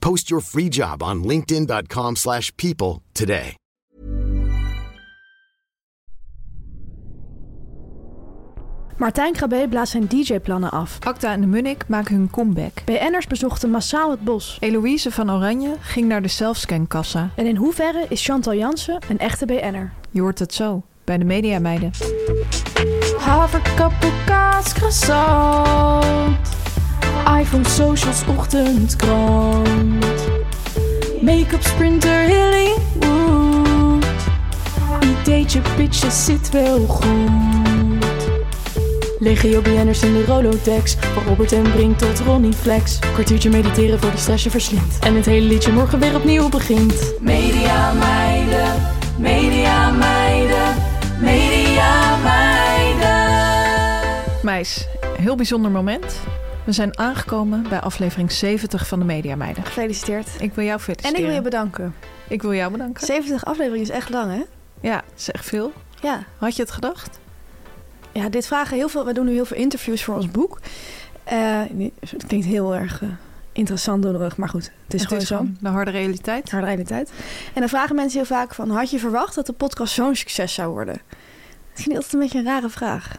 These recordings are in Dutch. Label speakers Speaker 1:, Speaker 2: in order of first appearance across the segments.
Speaker 1: Post your free job on linkedin.com/people slash people today.
Speaker 2: Martijn Krabbe blaast zijn DJ-plannen af.
Speaker 3: Acta en de Munnik maken hun comeback.
Speaker 2: BN'ers bezochten massaal het bos.
Speaker 3: Eloïse van Oranje ging naar de zelfscankassa.
Speaker 2: En in hoeverre is Chantal Jansen een echte BN'er?
Speaker 3: Je hoort het zo, bij de Mediameiden.
Speaker 4: Haverkappelkaas, croissant. iPhone, socials, ochtendkrant. Make-up, sprinter, Hollywood. Ideetje, pitjes, zit wel goed. Legio BN'ers in de Rolodex. Van Robert en Brink tot Ronnie Flex. Kwartiertje mediteren voor de stress je verslindt. En het hele liedje morgen weer opnieuw begint. Media meiden, media meiden, media meiden.
Speaker 3: Meis, heel bijzonder moment. We zijn aangekomen bij aflevering 70 van de Mediameiden.
Speaker 2: Gefeliciteerd.
Speaker 3: Ik wil jou
Speaker 2: En
Speaker 3: feliciteren.
Speaker 2: ik wil je bedanken.
Speaker 3: Ik wil jou bedanken.
Speaker 2: 70 afleveringen is echt lang, hè?
Speaker 3: Ja, dat is echt veel.
Speaker 2: Ja.
Speaker 3: Had je het gedacht?
Speaker 2: Ja, dit vragen heel veel. We doen nu heel veel interviews voor ons boek. Eh, nee, het klinkt heel erg eh, interessant door de rug, maar goed, het is
Speaker 3: Het
Speaker 2: gewoon
Speaker 3: is
Speaker 2: zo.
Speaker 3: gewoon de harde realiteit.
Speaker 2: Het harde realiteit. En dan vragen mensen heel vaak van... had je verwacht dat de podcast zo'n succes zou worden? Dat vind ik altijd een beetje een rare vraag.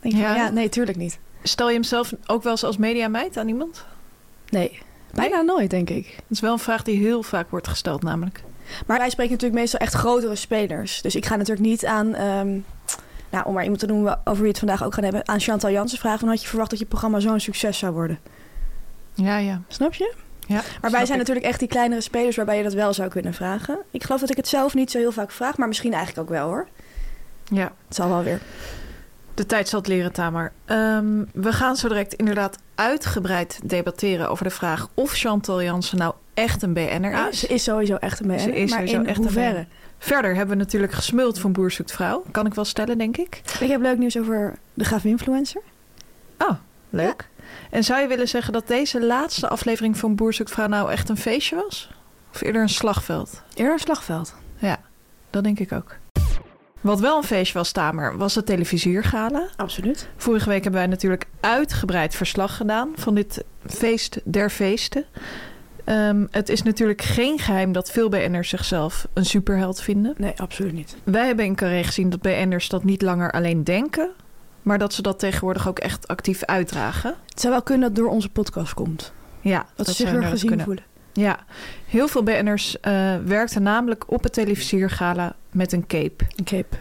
Speaker 2: Denk ik
Speaker 3: Ja.
Speaker 2: van, ja, nee, tuurlijk niet.
Speaker 3: Stel je hem zelf ook wel eens als mediameid aan iemand?
Speaker 2: Nee, bijna nooit, denk ik.
Speaker 3: Dat is wel een vraag die heel vaak wordt gesteld namelijk.
Speaker 2: Maar wij spreken natuurlijk meestal echt grotere spelers. Dus ik ga natuurlijk niet aan... ehm, nou, om maar iemand te noemen over wie we het vandaag ook gaan hebben... aan Chantal Jansen vragen van... had je verwacht dat je programma zo'n succes zou worden?
Speaker 3: Ja, ja.
Speaker 2: Snap je?
Speaker 3: ja
Speaker 2: Maar wij zijn natuurlijk echt die kleinere spelers... waarbij je dat wel zou kunnen vragen. Ik geloof dat ik het zelf niet zo heel vaak vraag... maar misschien eigenlijk ook wel, hoor.
Speaker 3: Ja,
Speaker 2: Het zal wel weer.
Speaker 3: De tijd zal het leren, Tamer. Ehm, we gaan zo direct inderdaad uitgebreid debatteren over de vraag of Chantal Jansen nou echt een BN'er
Speaker 2: Ja,
Speaker 3: is.
Speaker 2: ze is sowieso echt een BN'er.
Speaker 3: Ze is
Speaker 2: maar
Speaker 3: sowieso
Speaker 2: in
Speaker 3: echt een
Speaker 2: hoeverre?
Speaker 3: BN'er. Verder hebben we natuurlijk gesmuld van Boer zoekt vrouw. Kan ik wel stellen, denk ik.
Speaker 2: Ik heb leuk nieuws over de Graaf Influencer.
Speaker 3: Oh, leuk. En zou je willen zeggen dat deze laatste aflevering van Boer zoekt vrouw nou echt een feestje was? Of eerder een slagveld?
Speaker 2: Eerder een slagveld.
Speaker 3: Ja, dat denk ik ook. Wat wel een feestje was, Tamer, was het televisiergala.
Speaker 2: Absoluut.
Speaker 3: Vorige week hebben wij natuurlijk uitgebreid verslag gedaan van dit feest der feesten. Ehm, het is natuurlijk geen geheim dat veel BN'ers zichzelf een superheld vinden.
Speaker 2: Nee, absoluut niet.
Speaker 3: Wij hebben in Carré gezien dat BN'ers dat niet langer alleen denken, maar dat ze dat tegenwoordig ook echt actief uitdragen.
Speaker 2: Het zou wel kunnen dat door onze podcast komt.
Speaker 3: Ja,
Speaker 2: Dat, ze zich
Speaker 3: zou
Speaker 2: weer
Speaker 3: inderdaad
Speaker 2: gezien
Speaker 3: kunnen.
Speaker 2: voelen.
Speaker 3: Ja, heel veel BN'ers eh, werkten namelijk op het televisiergala met een cape.
Speaker 2: Een cape.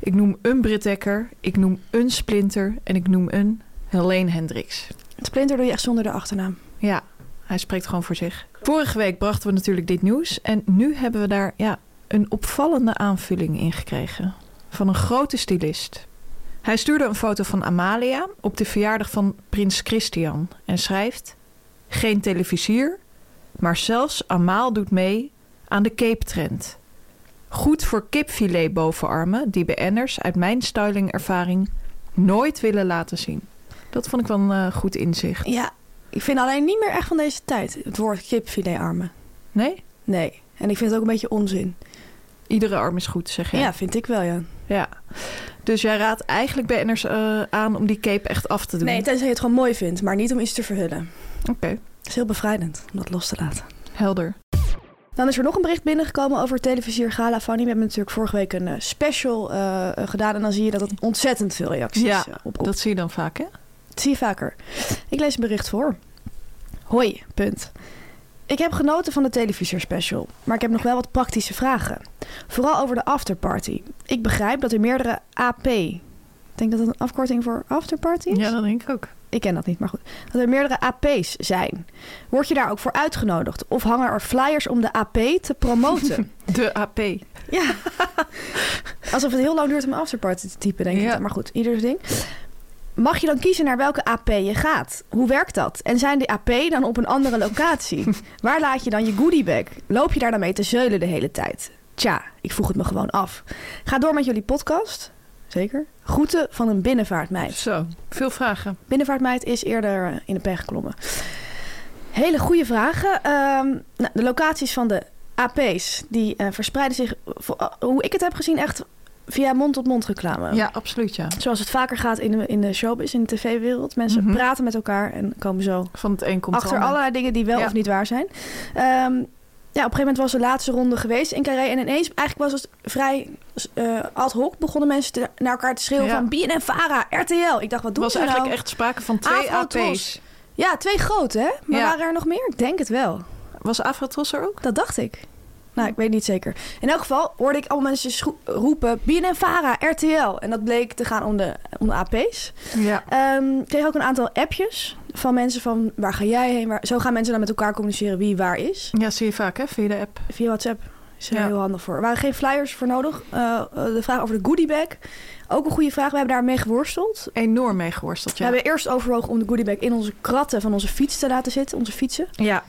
Speaker 3: Ik noem een Britt Dekker, ik noem een Splinter en ik noem een Helene Hendricks.
Speaker 2: Het splinter doe je echt zonder de achternaam.
Speaker 3: Ja, hij spreekt gewoon voor zich. Vorige week brachten we natuurlijk dit nieuws. En nu hebben we daar ja, een opvallende aanvulling in gekregen. Van een grote stylist. Hij stuurde een foto van Amalia op de verjaardag van prins Christian. En schrijft... Geen televisier, maar zelfs Amaal doet mee aan de cape trend. Goed voor kipfilet bovenarmen die BN'ers uit mijn stylingervaring nooit willen laten zien. Dat vond ik wel een eh, goed inzicht.
Speaker 2: Ja, ik vind alleen niet meer echt van deze tijd het woord kipfiletarmen.
Speaker 3: Nee?
Speaker 2: Nee. En ik vind het ook een beetje onzin.
Speaker 3: Iedere arm is goed, zeg
Speaker 2: Ja,
Speaker 3: jij.
Speaker 2: vind ik wel, ja.
Speaker 3: Ja. Dus jij raadt eigenlijk BN'ers eh, aan om die cape echt af te doen?
Speaker 2: Nee, tenzij je het gewoon mooi vindt, maar niet om iets te verhullen.
Speaker 3: Oké,
Speaker 2: Het is heel bevrijdend om dat los te laten.
Speaker 3: helder.
Speaker 2: Dan is er nog een bericht binnengekomen over het televisier Gala Fanny. We hebben natuurlijk vorige week een eh, special eh, gedaan. En dan zie je dat het ontzettend veel reacties
Speaker 3: Ja,
Speaker 2: eh, oproept.
Speaker 3: Dat zie je dan vaak, hè?
Speaker 2: Dat zie je vaker. Ik lees een bericht voor. Hoi, punt. Ik heb genoten van de televisierspecial, maar ik heb nog wel wat praktische vragen. Vooral over de afterparty. Ik begrijp dat er meerdere AP... Ik denk dat dat een afkorting voor afterparty is?
Speaker 3: Ja, dat denk ik ook.
Speaker 2: Ik ken dat niet, maar goed. Dat er meerdere AP's zijn. Word je daar ook voor uitgenodigd? Of hangen er flyers om de AP te promoten?
Speaker 3: De AP.
Speaker 2: ja. Alsof het heel lang duurt om een afterparty te typen, denk ik.
Speaker 3: Ja.
Speaker 2: dan. Maar goed, ieder zijn ding. Mag je dan kiezen naar welke AP je gaat? Hoe werkt dat? En zijn de AP dan op een andere locatie? Waar laat je dan je goodiebag? Loop je daar dan mee te zeulen de hele tijd? Tja, ik vroeg het me gewoon af. Ga door met jullie podcast. Zeker. Groeten van een binnenvaartmeid.
Speaker 3: Zo, veel vragen.
Speaker 2: Binnenvaartmeid is eerder eh, in de pen geklommen. Hele goede vragen. Ehm, nou, de locaties van de AP's die eh, verspreiden zich, vo- eh, hoe ik het heb gezien, echt via mond-tot-mond reclame.
Speaker 3: Ja, absoluut ja.
Speaker 2: Zoals het vaker gaat in de, in de showbiz, in de tv-wereld. Mensen
Speaker 3: Mhm.
Speaker 2: praten met elkaar en komen zo
Speaker 3: Van het een komt het
Speaker 2: achter
Speaker 3: ander.
Speaker 2: allerlei dingen die wel
Speaker 3: Ja.
Speaker 2: of niet waar zijn. Ehm, ja, op een gegeven moment was de laatste ronde geweest in Carré. En ineens, eigenlijk was het vrij eh, ad hoc, begonnen mensen te- naar elkaar te schreeuwen
Speaker 3: Ja.
Speaker 2: van BNN, Vara, RTL. Ik dacht, wat
Speaker 3: Er
Speaker 2: doen
Speaker 3: was
Speaker 2: ze nou?
Speaker 3: eigenlijk echt sprake van twee
Speaker 2: Afrotros.
Speaker 3: AP's.
Speaker 2: Ja, twee grote, hè? Maar
Speaker 3: Ja.
Speaker 2: waren er nog meer? Ik denk het wel.
Speaker 3: Was Afrotros er ook?
Speaker 2: Dat dacht ik. Nou, ik weet niet zeker. In elk geval hoorde ik allemaal mensen schro- roepen... BNN Vara, RTL. En dat bleek te gaan om de, om de AP's.
Speaker 3: Ja.
Speaker 2: Ehm, ik kreeg ook een aantal appjes van mensen van... waar ga jij heen? Waar... Zo gaan mensen dan met elkaar communiceren wie waar is.
Speaker 3: Ja, zie je vaak hè, via de app.
Speaker 2: Via WhatsApp is er
Speaker 3: Ja.
Speaker 2: heel handig voor. Er waren geen flyers voor nodig. Eh, eh, de vraag over de goodiebag. Ook een goede vraag. We hebben daarmee geworsteld.
Speaker 3: Enorm mee geworsteld,
Speaker 2: We
Speaker 3: ja.
Speaker 2: hebben eerst overwogen om de goodiebag in onze kratten van onze fiets te laten zitten. Onze fietsen.
Speaker 3: Ja,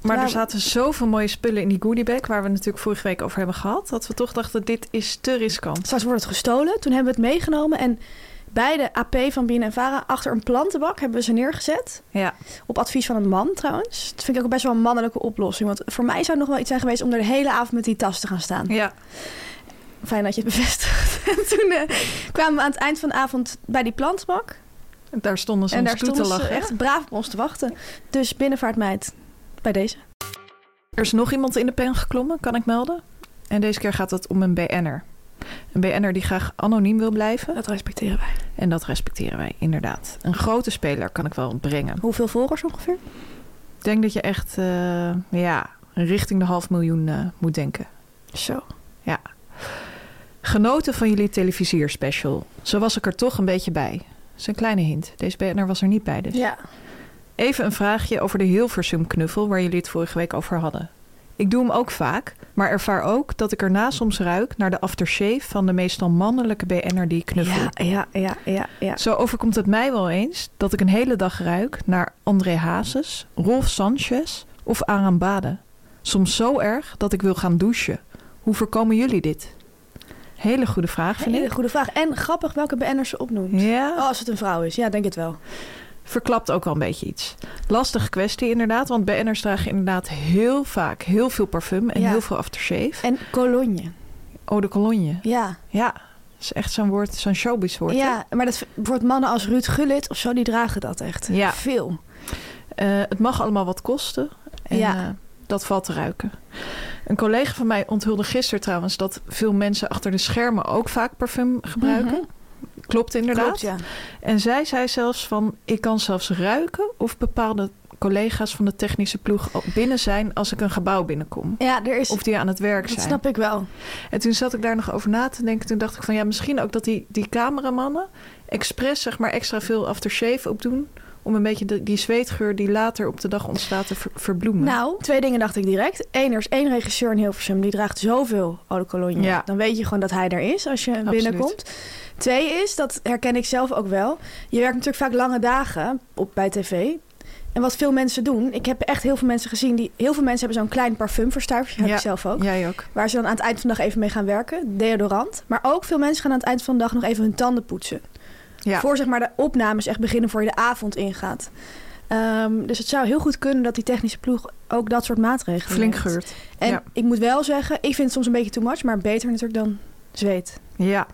Speaker 3: maar
Speaker 2: Nou,
Speaker 3: er zaten zoveel mooie spullen in die goodiebag... waar we natuurlijk vorige week over hebben gehad... dat we toch dachten, dit is te riskant.
Speaker 2: Straks wordt het gestolen. Toen hebben we het meegenomen en bij de AP van Bien en Vara achter een plantenbak hebben we ze neergezet.
Speaker 3: Ja,
Speaker 2: Op advies van een man trouwens. Dat vind ik ook best wel een mannelijke oplossing. Want voor mij zou het nog wel iets zijn geweest om er de hele avond met die tas te gaan staan.
Speaker 3: ja.
Speaker 2: Fijn dat je het bevestigt. En toen eh, kwamen we aan het eind van de avond bij die plantenbak.
Speaker 3: daar stonden ze
Speaker 2: en
Speaker 3: ons
Speaker 2: daar
Speaker 3: toe te
Speaker 2: stonden ze
Speaker 3: lachen.
Speaker 2: echt braaf op ons te wachten. Dus binnenvaartmeid, bij deze.
Speaker 3: Er is nog iemand in de pen geklommen, kan ik melden. En deze keer gaat het om een BN'er. Een BN'er die graag anoniem wil blijven.
Speaker 2: Dat respecteren wij.
Speaker 3: En dat respecteren wij, inderdaad. Een grote speler kan ik wel brengen.
Speaker 2: Hoeveel volgers ongeveer?
Speaker 3: Ik denk dat je echt eh, ja, richting de half miljoen eh, moet denken.
Speaker 2: Zo.
Speaker 3: Genoten van jullie televisierspecial. Zo was ik er toch een beetje bij. Dat is een kleine hint. Deze BN'er was er niet bij dus.
Speaker 2: Ja.
Speaker 3: Even een vraagje over de Hilversum-knuffel waar jullie het vorige week over hadden. Ik doe hem ook vaak, maar ervaar ook dat ik erna soms ruik naar de aftershave van de meestal mannelijke BN'er die ik knuffel.
Speaker 2: Ja, ja, ja, ja, ja.
Speaker 3: Zo overkomt het mij wel eens dat ik een hele dag ruik naar André Hazes, Rolf Sanchez of Aram Bade. Soms zo erg dat ik wil gaan douchen. Hoe voorkomen jullie dit? Hele goede vraag, vind
Speaker 2: Hele
Speaker 3: ik.
Speaker 2: goede vraag. En grappig welke BN'ers ze opnoemt.
Speaker 3: Ja.
Speaker 2: Oh, als het een vrouw is, ja, denk het wel.
Speaker 3: verklapt ook wel een beetje iets. Lastige kwestie inderdaad, want BN'ers dragen inderdaad heel vaak heel veel parfum en
Speaker 2: Ja.
Speaker 3: heel veel aftershave.
Speaker 2: En Cologne.
Speaker 3: Eau de cologne.
Speaker 2: Ja,
Speaker 3: Ja, dat is echt zo'n woord, zo'n showbiz woord. hè?
Speaker 2: ja maar dat wordt mannen als Ruud Gullit of zo, die dragen dat echt.
Speaker 3: Ja.
Speaker 2: Veel.
Speaker 3: Eh, het mag allemaal wat kosten. En
Speaker 2: Ja.
Speaker 3: eh, dat valt te ruiken. Een collega van mij onthulde gisteren trouwens dat veel mensen achter de schermen ook vaak parfum gebruiken. Klopt inderdaad.
Speaker 2: Mhm. Klopt, ja.
Speaker 3: En zij zei zelfs van ik kan zelfs ruiken of bepaalde collega's van de technische ploeg al binnen zijn als ik een gebouw binnenkom.
Speaker 2: Ja, er is...
Speaker 3: Of die aan het werk
Speaker 2: dat
Speaker 3: zijn.
Speaker 2: snap ik wel.
Speaker 3: En toen zat ik daar nog over na te denken. Toen dacht ik van ja, misschien ook dat die, die cameramannen expres zeg maar extra veel aftershave opdoen. Om een beetje de- die zweetgeur die later op de dag ontstaat te ver- verbloemen.
Speaker 2: Nou, twee dingen dacht ik direct. Eén, er is één regisseur in Hilversum, die draagt zoveel Eau de Cologne.
Speaker 3: Ja.
Speaker 2: Dan weet je gewoon dat hij er is als je binnenkomt. Twee is, dat herken ik zelf ook wel, je werkt natuurlijk vaak lange dagen op, bij tv... En wat veel mensen doen, ik heb echt heel veel mensen gezien die heel veel mensen hebben zo'n klein parfumverstuivertje, heb
Speaker 3: Ja.
Speaker 2: ik zelf ook.
Speaker 3: Jij ook.
Speaker 2: Waar ze dan aan het eind van de dag even mee gaan werken. Deodorant. Maar ook veel mensen gaan aan het eind van de dag nog even hun tanden poetsen.
Speaker 3: Ja.
Speaker 2: Voor zeg maar de opnames echt beginnen voor je de avond ingaat. Ehm, dus het zou heel goed kunnen dat die technische ploeg ook dat soort maatregelen
Speaker 3: Flink
Speaker 2: neemt.
Speaker 3: geurt.
Speaker 2: En
Speaker 3: ja.
Speaker 2: ik moet wel zeggen, ik vind het soms een beetje too much. Maar beter natuurlijk dan zweet.
Speaker 3: Ja.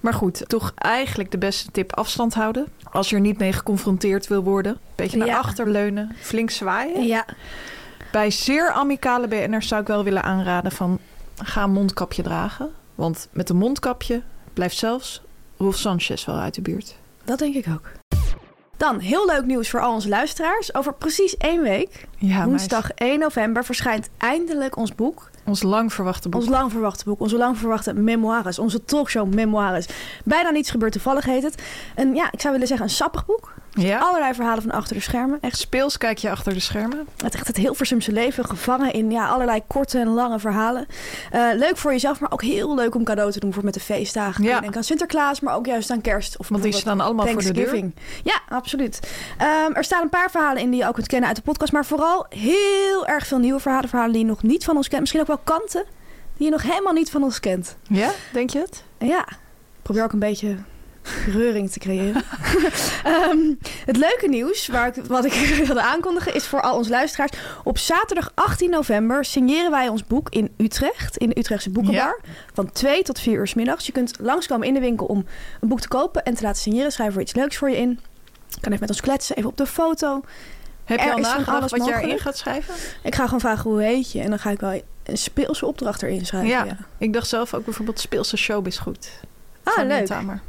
Speaker 3: Maar goed, toch eigenlijk de beste tip afstand houden. Als je er niet mee geconfronteerd wil worden. Beetje naar
Speaker 2: Ja.
Speaker 3: achterleunen, flink zwaaien.
Speaker 2: Ja,
Speaker 3: Bij zeer amicale BN'ers zou ik wel willen aanraden van... ga een mondkapje dragen. Want met een mondkapje blijft zelfs Rolf Sanchez wel uit de buurt.
Speaker 2: dat denk ik ook. Dan heel leuk nieuws voor al onze luisteraars. Over precies één week,
Speaker 3: Ja,
Speaker 2: woensdag 1 november, verschijnt eindelijk ons boek.
Speaker 3: meis. Ons lang verwachte boek.
Speaker 2: Ons lang verwachte boek, onze lang verwachte memoires, onze talkshow memoires. Bijna niets gebeurt toevallig heet het. En ja, ik zou willen zeggen een sappig boek.
Speaker 3: Ja.
Speaker 2: Allerlei verhalen van achter de schermen. Echt,
Speaker 3: Speels kijk je achter de schermen.
Speaker 2: het, echt het Hilversumse leven gevangen in ja, allerlei korte en lange verhalen. Eh, leuk voor jezelf, maar ook heel leuk om cadeau te doen voor met de feestdagen.
Speaker 3: Ja.
Speaker 2: Ik denk aan Sinterklaas, maar ook juist aan kerst. Of
Speaker 3: Want die
Speaker 2: bijvoorbeeld
Speaker 3: staan allemaal voor de deur.
Speaker 2: Thanksgiving. Ja, absoluut. Ehm, er staan een paar verhalen in die je ook kunt kennen uit de podcast. Maar vooral heel erg veel nieuwe verhalen. Verhalen die je nog niet van ons kent. Misschien ook wel kanten die je nog helemaal niet van ons kent.
Speaker 3: Ja, denk je het?
Speaker 2: En Ja, ik probeer ook een beetje reuring te creëren. Ehm, het leuke nieuws, waar ik, wat ik wilde aankondigen, is voor al onze luisteraars. Op zaterdag 18 november signeren wij ons boek in Utrecht, in de Utrechtse Boekenbar. Van 2 tot 4 uur 's middags. Je kunt langskomen in de winkel om een boek te kopen en te laten signeren. Schrijven we iets leuks voor je in. Je kan even met ons kletsen, even op de foto.
Speaker 3: Heb
Speaker 2: Er
Speaker 3: je al
Speaker 2: is van
Speaker 3: nagedacht
Speaker 2: alles
Speaker 3: wat je
Speaker 2: mogelijk.
Speaker 3: erin gaat schrijven?
Speaker 2: Ik ga gewoon vragen hoe heet je en dan ga ik wel een speelse opdracht erin schrijven.
Speaker 3: Eh, Ja. Ik dacht zelf ook bijvoorbeeld Speelse Show is goed.
Speaker 2: Ah,
Speaker 3: Van Jan
Speaker 2: leuk.
Speaker 3: Tamer.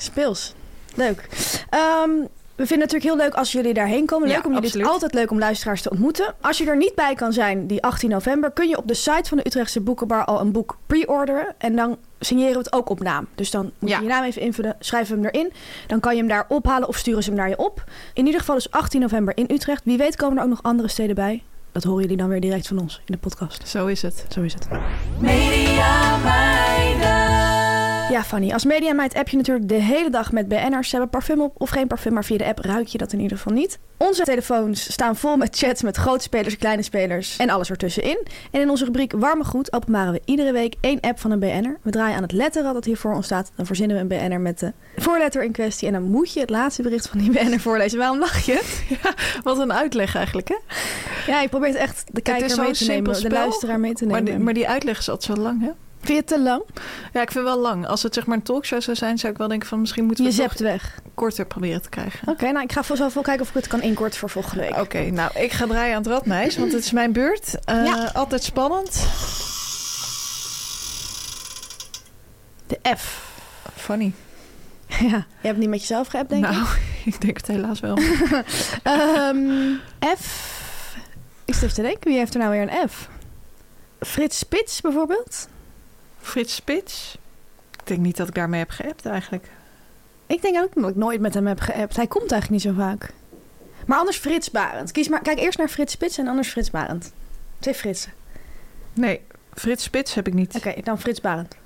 Speaker 2: Speels. Leuk. Ehm, we vinden het natuurlijk heel leuk als jullie daarheen komen. Leuk
Speaker 3: Ja,
Speaker 2: om jullie het is
Speaker 3: absoluut.
Speaker 2: altijd leuk om luisteraars te ontmoeten. Als je er niet bij kan zijn, die 18 november, kun je op de site van de Utrechtse Boekenbar al een boek pre-orderen. En dan signeren we het ook op naam. Dus dan moet
Speaker 3: Ja.
Speaker 2: je je naam even invullen, schrijven we hem erin. Dan kan je hem daar ophalen of sturen ze hem naar je op. In ieder geval is 18 november in Utrecht. Wie weet komen er ook nog andere steden bij. Dat horen jullie dan weer direct van ons in de podcast.
Speaker 3: Zo is het.
Speaker 2: Zo is het.
Speaker 4: Media
Speaker 2: Ja, Fanny, als mediameid app je natuurlijk de hele dag met BN'ers. Ze hebben parfum op of geen parfum, maar via de app ruik je dat in ieder geval niet. Onze telefoons staan vol met chats met grote spelers, kleine spelers en alles ertussenin. En in onze rubriek Warme Goed openbaren we iedere week één app van een BN'er. We draaien aan het letterrad dat hier voor ons staat. Dan verzinnen we een BN'er met de voorletter in kwestie. En dan moet je het laatste bericht van die BN'er voorlezen. Waarom lach je?
Speaker 3: Wat een uitleg eigenlijk, hè?
Speaker 2: Ja, ik probeer het echt de kijker
Speaker 3: zo'n
Speaker 2: mee te
Speaker 3: simpel
Speaker 2: nemen, de
Speaker 3: spel,
Speaker 2: luisteraar mee te
Speaker 3: Maar
Speaker 2: nemen.
Speaker 3: die, maar die uitleg is altijd zo lang, hè?
Speaker 2: Vind je het te lang?
Speaker 3: Ja, ik vind wel lang. Als het zeg maar een talkshow zou zijn, zou ik wel denken van misschien moeten
Speaker 2: Je
Speaker 3: we het
Speaker 2: zept
Speaker 3: nog
Speaker 2: weg.
Speaker 3: korter proberen te krijgen.
Speaker 2: Oké, nou ik ga voor zoveel kijken of ik het kan inkorten voor volgende week.
Speaker 3: Oké, nou, ik ga draaien aan het rad, meis, want het is mijn beurt. Eh,
Speaker 2: Ja.
Speaker 3: Altijd spannend.
Speaker 2: De F.
Speaker 3: Funny.
Speaker 2: Ja, je hebt niet met jezelf geappt, denk ik.
Speaker 3: nou, ik denk het helaas wel.
Speaker 2: Ehm, F. Ik zit even te denken, wie heeft er nou weer een F? Frits Spits bijvoorbeeld?
Speaker 3: Frits Spits. Ik denk niet dat ik daarmee heb geappt eigenlijk.
Speaker 2: Ik denk ook dat ik nooit met hem heb geappt. Hij komt eigenlijk niet zo vaak. Maar anders Frits Barend. Kies maar, kijk eerst naar Frits Spits en anders Frits Barend. Twee Fritsen.
Speaker 3: Nee, Frits Spits heb ik niet.
Speaker 2: Oké, dan Frits Barend.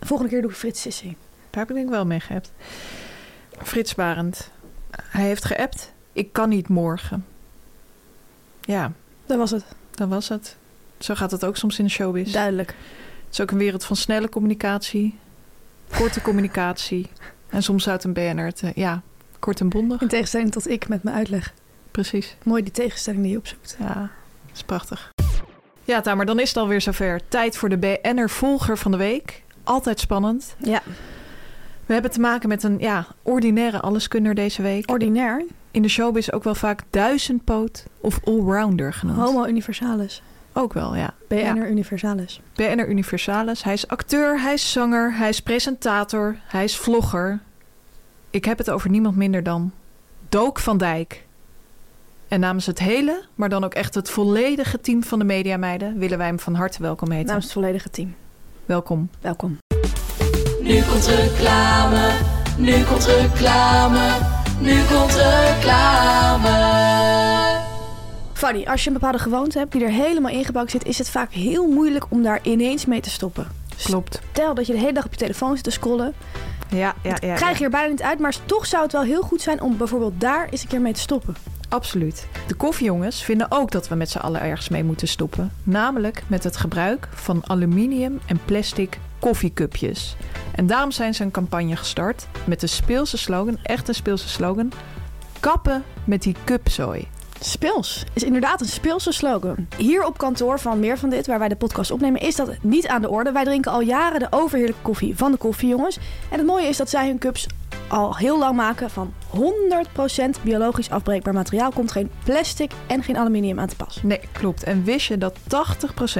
Speaker 2: Volgende keer doe ik Frits Sissi.
Speaker 3: Daar ben ik wel mee geappt. Frits Barend. Hij heeft geappt. Ik kan niet morgen. Ja,
Speaker 2: Dat was het.
Speaker 3: dat was het. Zo gaat het ook soms in de showbiz.
Speaker 2: Duidelijk.
Speaker 3: Het is ook een wereld van snelle communicatie, korte communicatie. En soms uit een BNR. het, eh, ja, kort en bondig.
Speaker 2: In tegenstelling tot ik met mijn uitleg.
Speaker 3: Precies.
Speaker 2: Mooi die tegenstelling die je opzoekt.
Speaker 3: Ja, dat is prachtig. Ja, Tamer, dan is het alweer zover. Tijd voor de BNR-volger van de week. Altijd spannend.
Speaker 2: Ja,
Speaker 3: We hebben te maken met een ja, ordinaire alleskunner deze week.
Speaker 2: ordinair.
Speaker 3: In de showbiz ook wel vaak duizendpoot of allrounder genoemd.
Speaker 2: Homo universalis.
Speaker 3: Ook wel, ja.
Speaker 2: BNR
Speaker 3: Ja.
Speaker 2: universalis.
Speaker 3: BNR Universalis. Hij is acteur, hij is zanger, hij is presentator, hij is vlogger. Ik heb het over niemand minder dan Dook van Dijk. En namens het hele, maar dan ook echt het volledige team van de Mediameiden... willen wij hem van harte welkom heten.
Speaker 2: Namens het volledige team.
Speaker 3: Welkom.
Speaker 2: Welkom.
Speaker 4: Nu komt reclame, nu komt reclame, nu komt reclame.
Speaker 2: Fanny, als je een bepaalde gewoonte hebt die er helemaal ingebouwd zit, is het vaak heel moeilijk om daar ineens mee te stoppen.
Speaker 3: Klopt.
Speaker 2: Stel dat je de hele dag op je telefoon zit te scrollen,
Speaker 3: Ja, ja, ja.
Speaker 2: krijg je er bijna niet uit, maar toch zou het wel heel goed zijn om bijvoorbeeld daar eens een keer mee te stoppen.
Speaker 3: Absoluut. De koffiejongens vinden ook dat we met z'n allen ergens mee moeten stoppen. Namelijk met het gebruik van aluminium en plastic koffiecupjes. En daarom zijn ze een campagne gestart met de speelse slogan, echt een speelse slogan... Kappen met die cupzooi.
Speaker 2: Speels is inderdaad een speelse slogan. Hier op kantoor van Meer van Dit, waar wij de podcast opnemen, is dat niet aan de orde. Wij drinken al jaren de overheerlijke koffie van de koffiejongens. En het mooie is dat zij hun cups al heel lang maken van 100% biologisch afbreekbaar materiaal. Komt geen plastic en geen aluminium aan te pas.
Speaker 3: Nee, klopt. En wist je dat 80%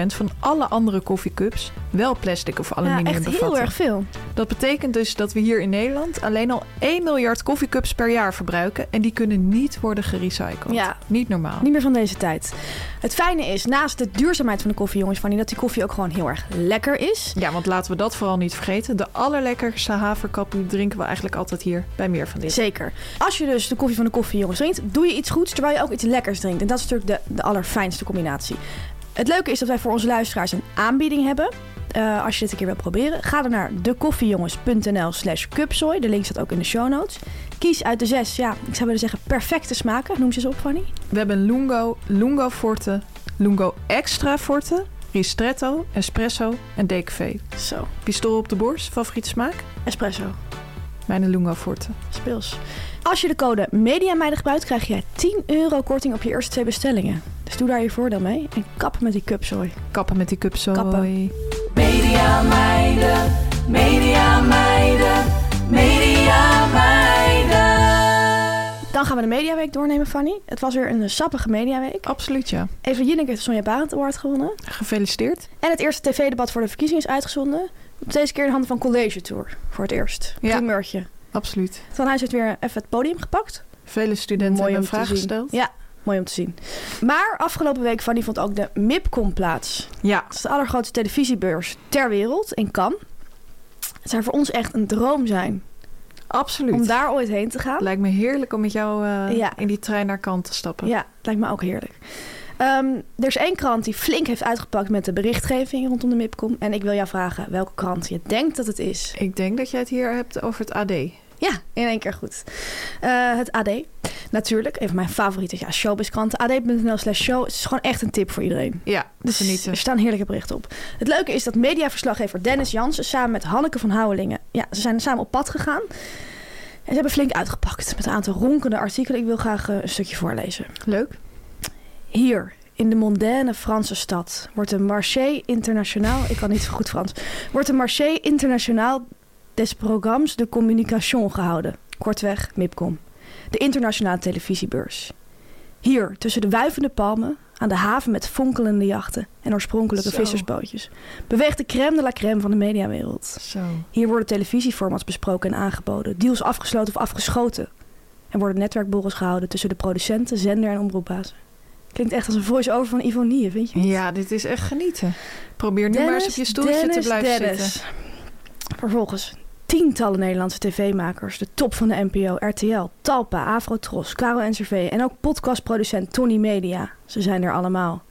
Speaker 3: van alle andere koffiecups wel plastic of
Speaker 2: Ja,
Speaker 3: aluminium
Speaker 2: echt
Speaker 3: bevatten?
Speaker 2: heel erg veel.
Speaker 3: Dat betekent dus dat we hier in Nederland alleen al 1 miljard koffiecups per jaar verbruiken. En die kunnen niet worden gerecycled.
Speaker 2: Ja.
Speaker 3: Niet normaal.
Speaker 2: Niet meer van deze tijd. Het fijne is, naast de duurzaamheid van de koffie, jongens, Fanny, dat die koffie ook gewoon heel erg lekker is.
Speaker 3: Ja, want laten we dat vooral niet vergeten. De allerlekkerste haverkappie drinken we eigenlijk altijd hier bij meer van dit.
Speaker 2: Zeker. Als je dus de koffie van de koffiejongens drinkt, doe je iets goeds terwijl je ook iets lekkers drinkt. En dat is natuurlijk de, de allerfijnste combinatie. Het leuke is dat wij voor onze luisteraars een aanbieding hebben. Eh, als je dit een keer wil proberen, ga dan naar dekoffiejongens.nl slash cupzooi. De link staat ook in de show notes. Kies uit de zes, ja, ik zou willen zeggen perfecte smaken. Noem ze eens op, Fanny.
Speaker 3: We hebben Lungo, Lungo Forte, Lungo Extra Forte, Ristretto, Espresso en DKV.
Speaker 2: Zo,
Speaker 3: Pistool op de borst, favoriete smaak?
Speaker 2: espresso.
Speaker 3: Mijn Lungo Forte.
Speaker 2: Speels. Als je de code MEDIAMEIDEN gebruikt, krijg je 10 euro korting op je eerste twee bestellingen. Dus doe daar je voordeel mee en kap met die cupzooi.
Speaker 3: Kappen met die cupzooi.
Speaker 2: Kappen.
Speaker 4: Media meiden, media meiden, media meiden.
Speaker 2: Dan gaan we de Mediaweek doornemen, Fanny. Het was weer een sappige Mediaweek.
Speaker 3: Absoluut ja.
Speaker 2: Eva Jinek heeft de Sonja Barend Award gewonnen.
Speaker 3: Gefeliciteerd.
Speaker 2: En het eerste tv-debat voor de verkiezingen is uitgezonden. Deze keer in handen van College Tour. Voor het eerst.
Speaker 3: Ja.
Speaker 2: Primeurtje.
Speaker 3: Absoluut.
Speaker 2: Van Huis heeft weer even het podium gepakt.
Speaker 3: Vele studenten
Speaker 2: Mooi om
Speaker 3: hebben
Speaker 2: te
Speaker 3: een vraag
Speaker 2: zien.
Speaker 3: gesteld.
Speaker 2: Ja, mooi om te zien. Maar afgelopen week, Fanny, vond ook de MIPCOM plaats.
Speaker 3: Ja.
Speaker 2: Het is de allergrootste televisiebeurs ter wereld in Cannes. Het zou voor ons echt een droom zijn
Speaker 3: absoluut.
Speaker 2: om daar ooit heen te gaan.
Speaker 3: Lijkt me heerlijk om met jou eh,
Speaker 2: Ja.
Speaker 3: in die trein naar kant te stappen.
Speaker 2: Ja, lijkt me ook heerlijk. Ehm, er is één krant die flink heeft uitgepakt met de berichtgeving rondom de MIPCOM. En ik wil jou vragen welke krant je denkt dat het is.
Speaker 3: Ik denk dat jij het hier hebt over het AD.
Speaker 2: Ja, in één keer goed. Eh, het AD, natuurlijk. Een van mijn favoriete ja, showbizkranten. AD.nl slash show. Het is gewoon echt een tip voor iedereen.
Speaker 3: Ja,
Speaker 2: Dus
Speaker 3: genieten.
Speaker 2: er staan heerlijke berichten op. Het leuke is dat mediaverslaggever Dennis Jansen samen met Hanneke van Houwelingen... Ja, ze zijn samen op pad gegaan. En ze hebben flink uitgepakt met een aantal ronkende artikelen. Ik wil graag eh, een stukje voorlezen.
Speaker 3: Leuk.
Speaker 2: Hier, in de mondaine Franse stad, wordt de marché internationaal... Ik kan niet zo goed Frans. Wordt de marché internationaal des programmes de communication gehouden. Kortweg, MIPCOM. De internationale televisiebeurs. Hier, tussen de wuivende palmen, aan de haven met fonkelende jachten en oorspronkelijke
Speaker 3: Zo.
Speaker 2: vissersbootjes, beweegt de crème de la crème van de mediawereld.
Speaker 3: Zo.
Speaker 2: Hier worden televisieformats besproken en aangeboden, deals afgesloten of afgeschoten. Er worden netwerkborrels gehouden tussen de producenten, zender en omroepbazen. Klinkt echt als een voice-over van Ivonie, vind je? niet?
Speaker 3: Ja, dit is echt genieten. Probeer nu maar eens op je stoeltje te blijven zitten.
Speaker 2: Vervolgens tientallen Nederlandse tv-makers, de top van de NPO, RTL, Talpa, Avrotros, Caro NCV en ook podcastproducent Tony Media. Ze zijn er allemaal.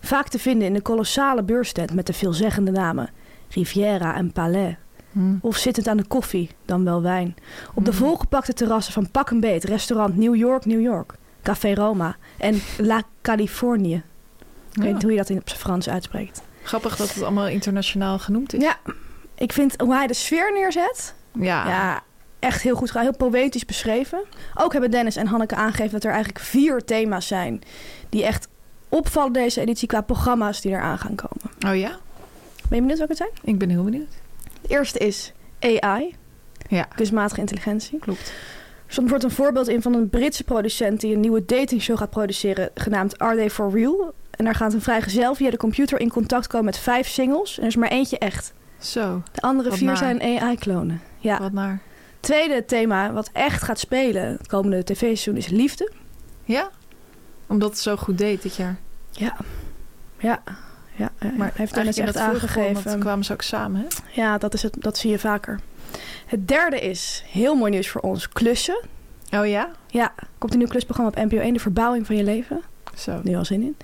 Speaker 2: Vaak te vinden in de kolossale beurstent met de veelzeggende namen Riviera en Palais.
Speaker 3: Hm.
Speaker 2: Of zittend aan de koffie, dan wel wijn. Op de
Speaker 3: Hmm.
Speaker 2: volgepakte terrassen van Pak een Beet, restaurant New York, New York, Café Roma en La Californie. Ik weet
Speaker 3: Ja.
Speaker 2: niet hoe je dat in het Frans uitspreekt.
Speaker 3: Grappig dat het allemaal internationaal genoemd is.
Speaker 2: Ja, Ah. ik vind hoe hij de sfeer neerzet,
Speaker 3: Ja.
Speaker 2: ja, echt heel goed gedaan. Heel poëtisch beschreven. Ook hebben Dennis en Hanneke aangegeven dat er eigenlijk vier thema's zijn... die echt opvallen deze editie qua programma's die eraan gaan komen.
Speaker 3: Oh ja?
Speaker 2: Ben je benieuwd welke het zijn?
Speaker 3: Ik ben heel benieuwd.
Speaker 2: Het eerste is AI,
Speaker 3: Ja,
Speaker 2: kunstmatige intelligentie.
Speaker 3: klopt.
Speaker 2: Er stond wordt een voorbeeld in van een Britse producent die een nieuwe datingshow gaat produceren, genaamd Are They For Real? En daar gaat een vrijgezel via de computer in contact komen met vijf singles. En er is maar eentje echt.
Speaker 3: Zo,
Speaker 2: De andere
Speaker 3: Wat
Speaker 2: vier
Speaker 3: naar.
Speaker 2: zijn AI-klonen. Ja.
Speaker 3: wat naar.
Speaker 2: Tweede thema wat echt gaat spelen het komende tv-seizoen is liefde.
Speaker 3: Ja? Omdat het zo goed deed dit jaar.
Speaker 2: Ja. Ja. Ja, ja, ja.
Speaker 3: Maar
Speaker 2: heeft Dennis echt
Speaker 3: eigenlijk in het vorige format
Speaker 2: aangegeven.
Speaker 3: kwamen ze ook samen, hè?
Speaker 2: Ja, dat, is het, dat zie je vaker. Het derde is, heel mooi nieuws voor ons, klussen.
Speaker 3: Oh ja?
Speaker 2: Ja, komt een nieuw klusprogramma op NPO 1, de verbouwing van je leven.
Speaker 3: Zo.
Speaker 2: nu al zin in.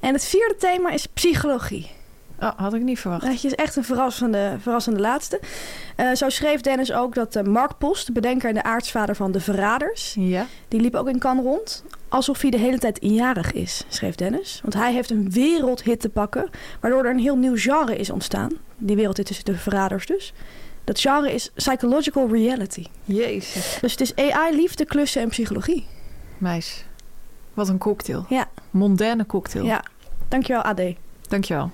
Speaker 2: En het vierde thema is psychologie.
Speaker 3: Oh, had ik niet verwacht.
Speaker 2: Dat is echt een verrassende, verrassende laatste. Eh, zo schreef Dennis ook dat eh, Mark Post, de bedenker en de aartsvader van De Verraders,
Speaker 3: Ja?
Speaker 2: die liep ook in Cannes rond. Alsof hij de hele tijd jarig is, schreef Dennis. Want hij heeft een wereldhit te pakken, waardoor er een heel nieuw genre is ontstaan. Die wereldhit is De Verraders dus. Dat genre is psychological reality.
Speaker 3: Jezus.
Speaker 2: Dus het is AI, liefde, klussen en psychologie.
Speaker 3: Meis. Wat een cocktail.
Speaker 2: Ja.
Speaker 3: Mondaine cocktail.
Speaker 2: Ja, dankjewel AD.
Speaker 3: Dankjewel.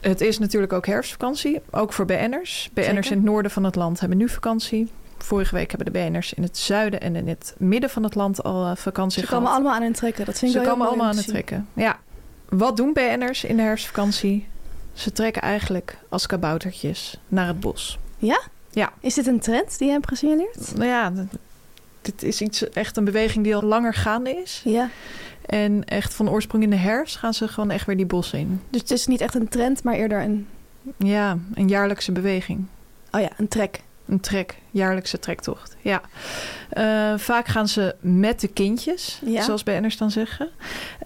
Speaker 3: Het is natuurlijk ook herfstvakantie, ook voor BN'ers. BN'ers
Speaker 2: Zeker.
Speaker 3: in het noorden van het land hebben nu vakantie. Vorige week hebben de BN'ers in het zuiden en in het midden van het land al eh, vakantie
Speaker 2: Ze
Speaker 3: gehad.
Speaker 2: komen allemaal aan hun trekken. Dat vind
Speaker 3: Ze
Speaker 2: ik wel heel
Speaker 3: komen
Speaker 2: mooi om
Speaker 3: allemaal aan
Speaker 2: te
Speaker 3: het
Speaker 2: zien.
Speaker 3: trekken. Ja. Wat doen BN'ers in de herfstvakantie? Ze trekken eigenlijk als kaboutertjes naar het bos.
Speaker 2: Ja?
Speaker 3: Ja.
Speaker 2: Is dit een trend die je hebt gesignaleerd?
Speaker 3: Nou ja, d- dit is iets, echt een beweging die al langer gaande is.
Speaker 2: Ja.
Speaker 3: En echt van oorsprong in de herfst gaan ze gewoon echt weer die bossen in.
Speaker 2: Dus het is niet echt een trend, maar eerder een,
Speaker 3: Ja, een jaarlijkse beweging.
Speaker 2: oh ja, een trek.
Speaker 3: Een trek, jaarlijkse trektocht. Ja. Eh, vaak gaan ze met de kindjes,
Speaker 2: Ja.
Speaker 3: zoals BN'ers dan zeggen.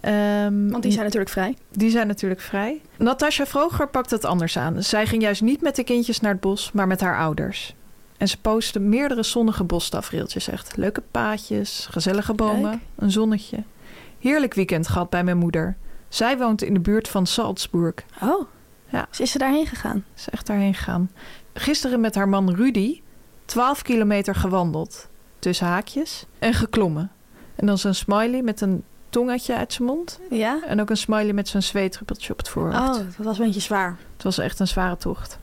Speaker 3: Ehm,
Speaker 2: Want die zijn natuurlijk vrij.
Speaker 3: Die zijn natuurlijk vrij. Natasja Vroger pakt het anders aan. Zij ging juist niet met de kindjes naar het bos, maar met haar ouders. En ze postte meerdere zonnige bostafereeltjes echt. Leuke paadjes, gezellige bomen,
Speaker 2: Kijk.
Speaker 3: een zonnetje. Heerlijk weekend gehad bij mijn moeder. Zij woont in de buurt van Salzburg.
Speaker 2: Oh.
Speaker 3: Ja.
Speaker 2: Dus is ze daarheen gegaan?
Speaker 3: Ze is echt daarheen gegaan. Gisteren met haar man Rudy 12 kilometer gewandeld. Tussen haakjes en geklommen. En dan zo'n smiley met een tongetje uit zijn mond.
Speaker 2: Ja.
Speaker 3: En ook een smiley met zo'n zweetruppeltje op het voorhoofd.
Speaker 2: Oh, dat was een beetje zwaar.
Speaker 3: Het was echt een zware tocht.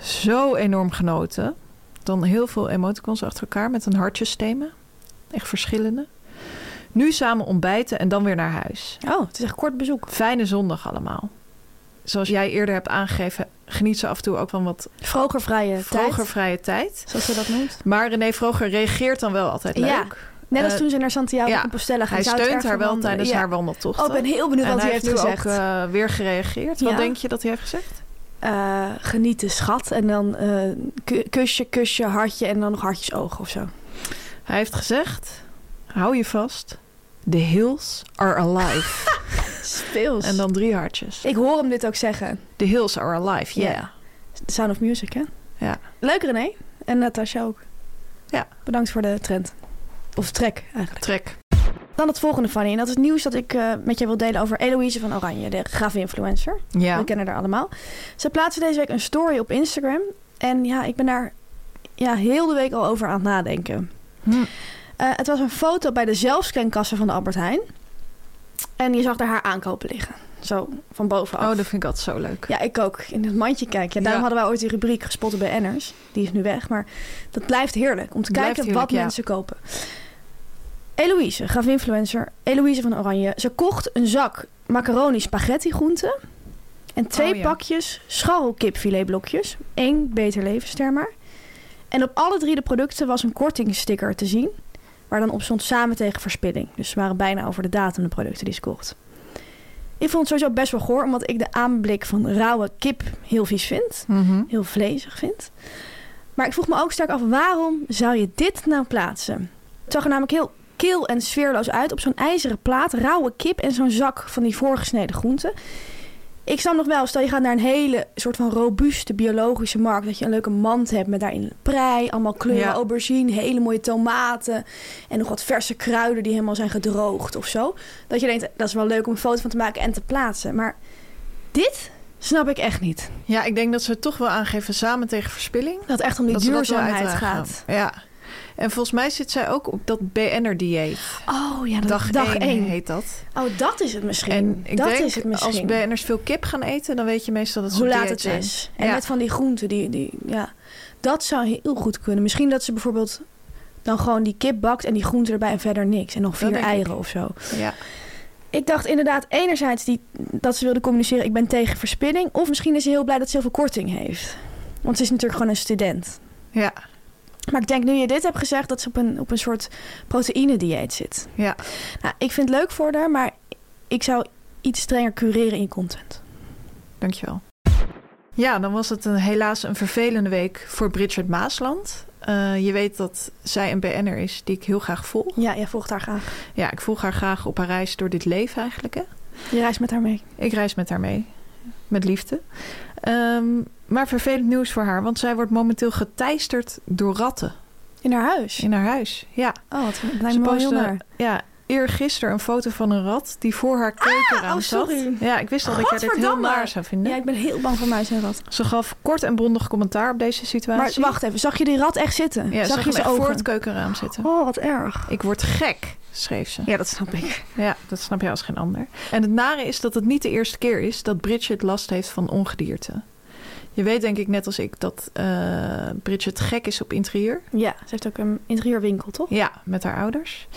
Speaker 3: Zo enorm genoten. Dan heel veel emoticons achter elkaar met een hartjesthema. Echt verschillende. Nu samen ontbijten en dan weer naar huis.
Speaker 2: Oh, het is echt kort bezoek.
Speaker 3: Fijne zondag allemaal. Zoals jij eerder hebt aangegeven, geniet ze af en toe ook van wat
Speaker 2: Vrogervrije
Speaker 3: vroeger
Speaker 2: tijd,
Speaker 3: vrije tijd.
Speaker 2: zoals ze dat noemt.
Speaker 3: Maar René Vroger reageert dan wel altijd
Speaker 2: Ja.
Speaker 3: leuk.
Speaker 2: Net als
Speaker 3: Eh,
Speaker 2: toen ze naar Santiago
Speaker 3: ja.
Speaker 2: de Compostela ging.
Speaker 3: Hij
Speaker 2: zou het
Speaker 3: steunt
Speaker 2: erg
Speaker 3: haar wel
Speaker 2: veranderen.
Speaker 3: tijdens
Speaker 2: Ja.
Speaker 3: haar wandeltocht.
Speaker 2: Oh, ik ben heel benieuwd
Speaker 3: en
Speaker 2: wat
Speaker 3: hij
Speaker 2: hij heeft
Speaker 3: nu
Speaker 2: gezegd.
Speaker 3: ook eh, weer gereageerd. Wat
Speaker 2: Ja.
Speaker 3: denk je dat hij heeft gezegd?
Speaker 2: Eh, genieten, schat. En dan eh, ku- kusje, kusje, hartje en dan nog hartjes ogen of zo.
Speaker 3: Hij heeft gezegd, hou je vast, the hills are alive.
Speaker 2: Speels.
Speaker 3: en dan drie hartjes.
Speaker 2: Ik hoor hem dit ook zeggen.
Speaker 3: The hills are alive, yeah.
Speaker 2: Ja. The Sound of Music, hè?
Speaker 3: Ja.
Speaker 2: Leuk, René. En Natasja ook.
Speaker 3: Ja.
Speaker 2: Bedankt voor de trend. Of trek, eigenlijk.
Speaker 3: Trek.
Speaker 2: Dan het volgende, Fanny. En dat is nieuws dat ik eh, met je wil delen over Eloïse van Oranje, de graf-influencer.
Speaker 3: Ja.
Speaker 2: We kennen haar allemaal. Ze plaatste deze week een story op Instagram. En ja, ik ben daar ja, heel de week al over aan het nadenken.
Speaker 3: Hm.
Speaker 2: Eh, het was een foto bij de zelfscankassa van de Albert Heijn. En je zag daar haar aankopen liggen. Zo, van bovenaf.
Speaker 3: Oh, dat vind ik altijd zo leuk.
Speaker 2: Ja, ik ook. In het mandje kijken. Ja, daarom
Speaker 3: Ja.
Speaker 2: hadden wij ooit die rubriek gespotten bij Enners. Die is nu weg. Maar dat blijft heerlijk om te
Speaker 3: Blijft
Speaker 2: kijken
Speaker 3: heerlijk,
Speaker 2: wat
Speaker 3: ja.
Speaker 2: mensen kopen. Eloïse, gaf influencer. Eloïse van Oranje. Ze kocht een zak macaroni spaghetti groenten. En twee
Speaker 3: Oh, ja.
Speaker 2: pakjes scharrelkipfiletblokjes. Eén beter levensster maar. En op alle drie de producten was een kortingsticker te zien. Waar dan op stond samen tegen verspilling. Dus ze waren bijna over de datum de producten die ze kocht. Ik vond het sowieso best wel goor, omdat ik de aanblik van rauwe kip heel vies vind.
Speaker 3: Mhm.
Speaker 2: Heel vlezig vind. Maar ik vroeg me ook sterk af, waarom zou je dit nou plaatsen? Het zag er namelijk heel kil en sfeerloos uit op zo'n ijzeren plaat. Rauwe kip en zo'n zak van die voorgesneden groenten. Ik snap nog wel, stel je gaat naar een hele soort van robuuste biologische markt. Dat je een leuke mand hebt met daarin prei, allemaal kleuren,
Speaker 3: Ja.
Speaker 2: aubergine, hele mooie tomaten. En nog wat verse kruiden die helemaal zijn gedroogd of zo. Dat je denkt, dat is wel leuk om een foto van te maken en te plaatsen. Maar dit snap ik echt niet.
Speaker 3: Ja, ik denk dat ze het toch wel aangeven samen tegen verspilling.
Speaker 2: Dat het echt om die
Speaker 3: dat ze dat wel
Speaker 2: duurzaamheid
Speaker 3: uitdragen.
Speaker 2: gaat.
Speaker 3: Ja. En volgens mij zit zij ook op dat BN'er-dieet.
Speaker 2: Oh ja, dat
Speaker 3: Dag,
Speaker 2: dag, dag
Speaker 3: één
Speaker 2: één.
Speaker 3: heet dat.
Speaker 2: Oh, dat is het misschien.
Speaker 3: En ik
Speaker 2: dat
Speaker 3: denk,
Speaker 2: is het misschien.
Speaker 3: als BN'ers veel kip gaan eten... dan weet je meestal dat ze
Speaker 2: Hoe
Speaker 3: op
Speaker 2: laat
Speaker 3: dieet
Speaker 2: het
Speaker 3: zijn.
Speaker 2: is. En
Speaker 3: Ja.
Speaker 2: met van die groenten, die, die, ja, dat zou heel goed kunnen. Misschien dat ze bijvoorbeeld dan gewoon die kip bakt en die groenten erbij en verder niks. En nog
Speaker 3: Dat
Speaker 2: vier
Speaker 3: denk ik.
Speaker 2: eieren of zo.
Speaker 3: Ja.
Speaker 2: Ik dacht inderdaad enerzijds die, dat ze wilde communiceren... ik ben tegen verspilling. Of misschien is ze heel blij dat ze heel veel korting heeft. Want ze is natuurlijk gewoon een student.
Speaker 3: ja,
Speaker 2: Maar ik denk nu je dit hebt gezegd... dat ze op een, op een soort proteïnedieet zit.
Speaker 3: ja.
Speaker 2: Nou, ik vind het leuk voor haar, maar ik zou iets strenger cureren in je content.
Speaker 3: Dankjewel. Ja, dan was het een, helaas een vervelende week voor Bridget Maasland. Eh, je weet dat zij een BN'er is die ik heel graag volg.
Speaker 2: Ja, jij volgt haar graag.
Speaker 3: Ja, ik volg haar graag op haar reis door dit leven eigenlijk. Hè?
Speaker 2: Je reist met haar mee.
Speaker 3: Ik reis met haar mee. Met liefde. Ehm, maar vervelend nieuws voor haar, want zij wordt momenteel geteisterd door ratten
Speaker 2: In haar huis?
Speaker 3: in haar huis. Ja,
Speaker 2: Oh, wat dat lijkt
Speaker 3: Ze
Speaker 2: me wel heel
Speaker 3: postte-
Speaker 2: naar.
Speaker 3: ja eergisteren een foto van een rat die voor haar keuken aan
Speaker 2: oh,
Speaker 3: zat.
Speaker 2: sorry.
Speaker 3: Ja, ik wist al dat jij dit heel
Speaker 2: Godverdamme.
Speaker 3: naar zou vinden.
Speaker 2: Ja, ik ben heel bang voor muizen en rat.
Speaker 3: Ze gaf kort en bondig commentaar op deze
Speaker 2: Maar
Speaker 3: situatie.
Speaker 2: wacht even, zag je die rat echt zitten?
Speaker 3: Ja,
Speaker 2: zag, je
Speaker 3: ze
Speaker 2: ze
Speaker 3: echt
Speaker 2: ogen?
Speaker 3: voor het keukenraam zitten.
Speaker 2: Oh, wat erg.
Speaker 3: Ik word gek, schreef ze.
Speaker 2: Ja, dat snap ik.
Speaker 3: Ja, dat snap jij als geen ander. En het nare is dat het niet de eerste keer is dat Bridget last heeft van ongedierte. Je weet denk ik net als ik dat eh, Bridget gek is op interieur.
Speaker 2: Ja, ze heeft ook een interieurwinkel, toch?
Speaker 3: Ja, met haar ouders.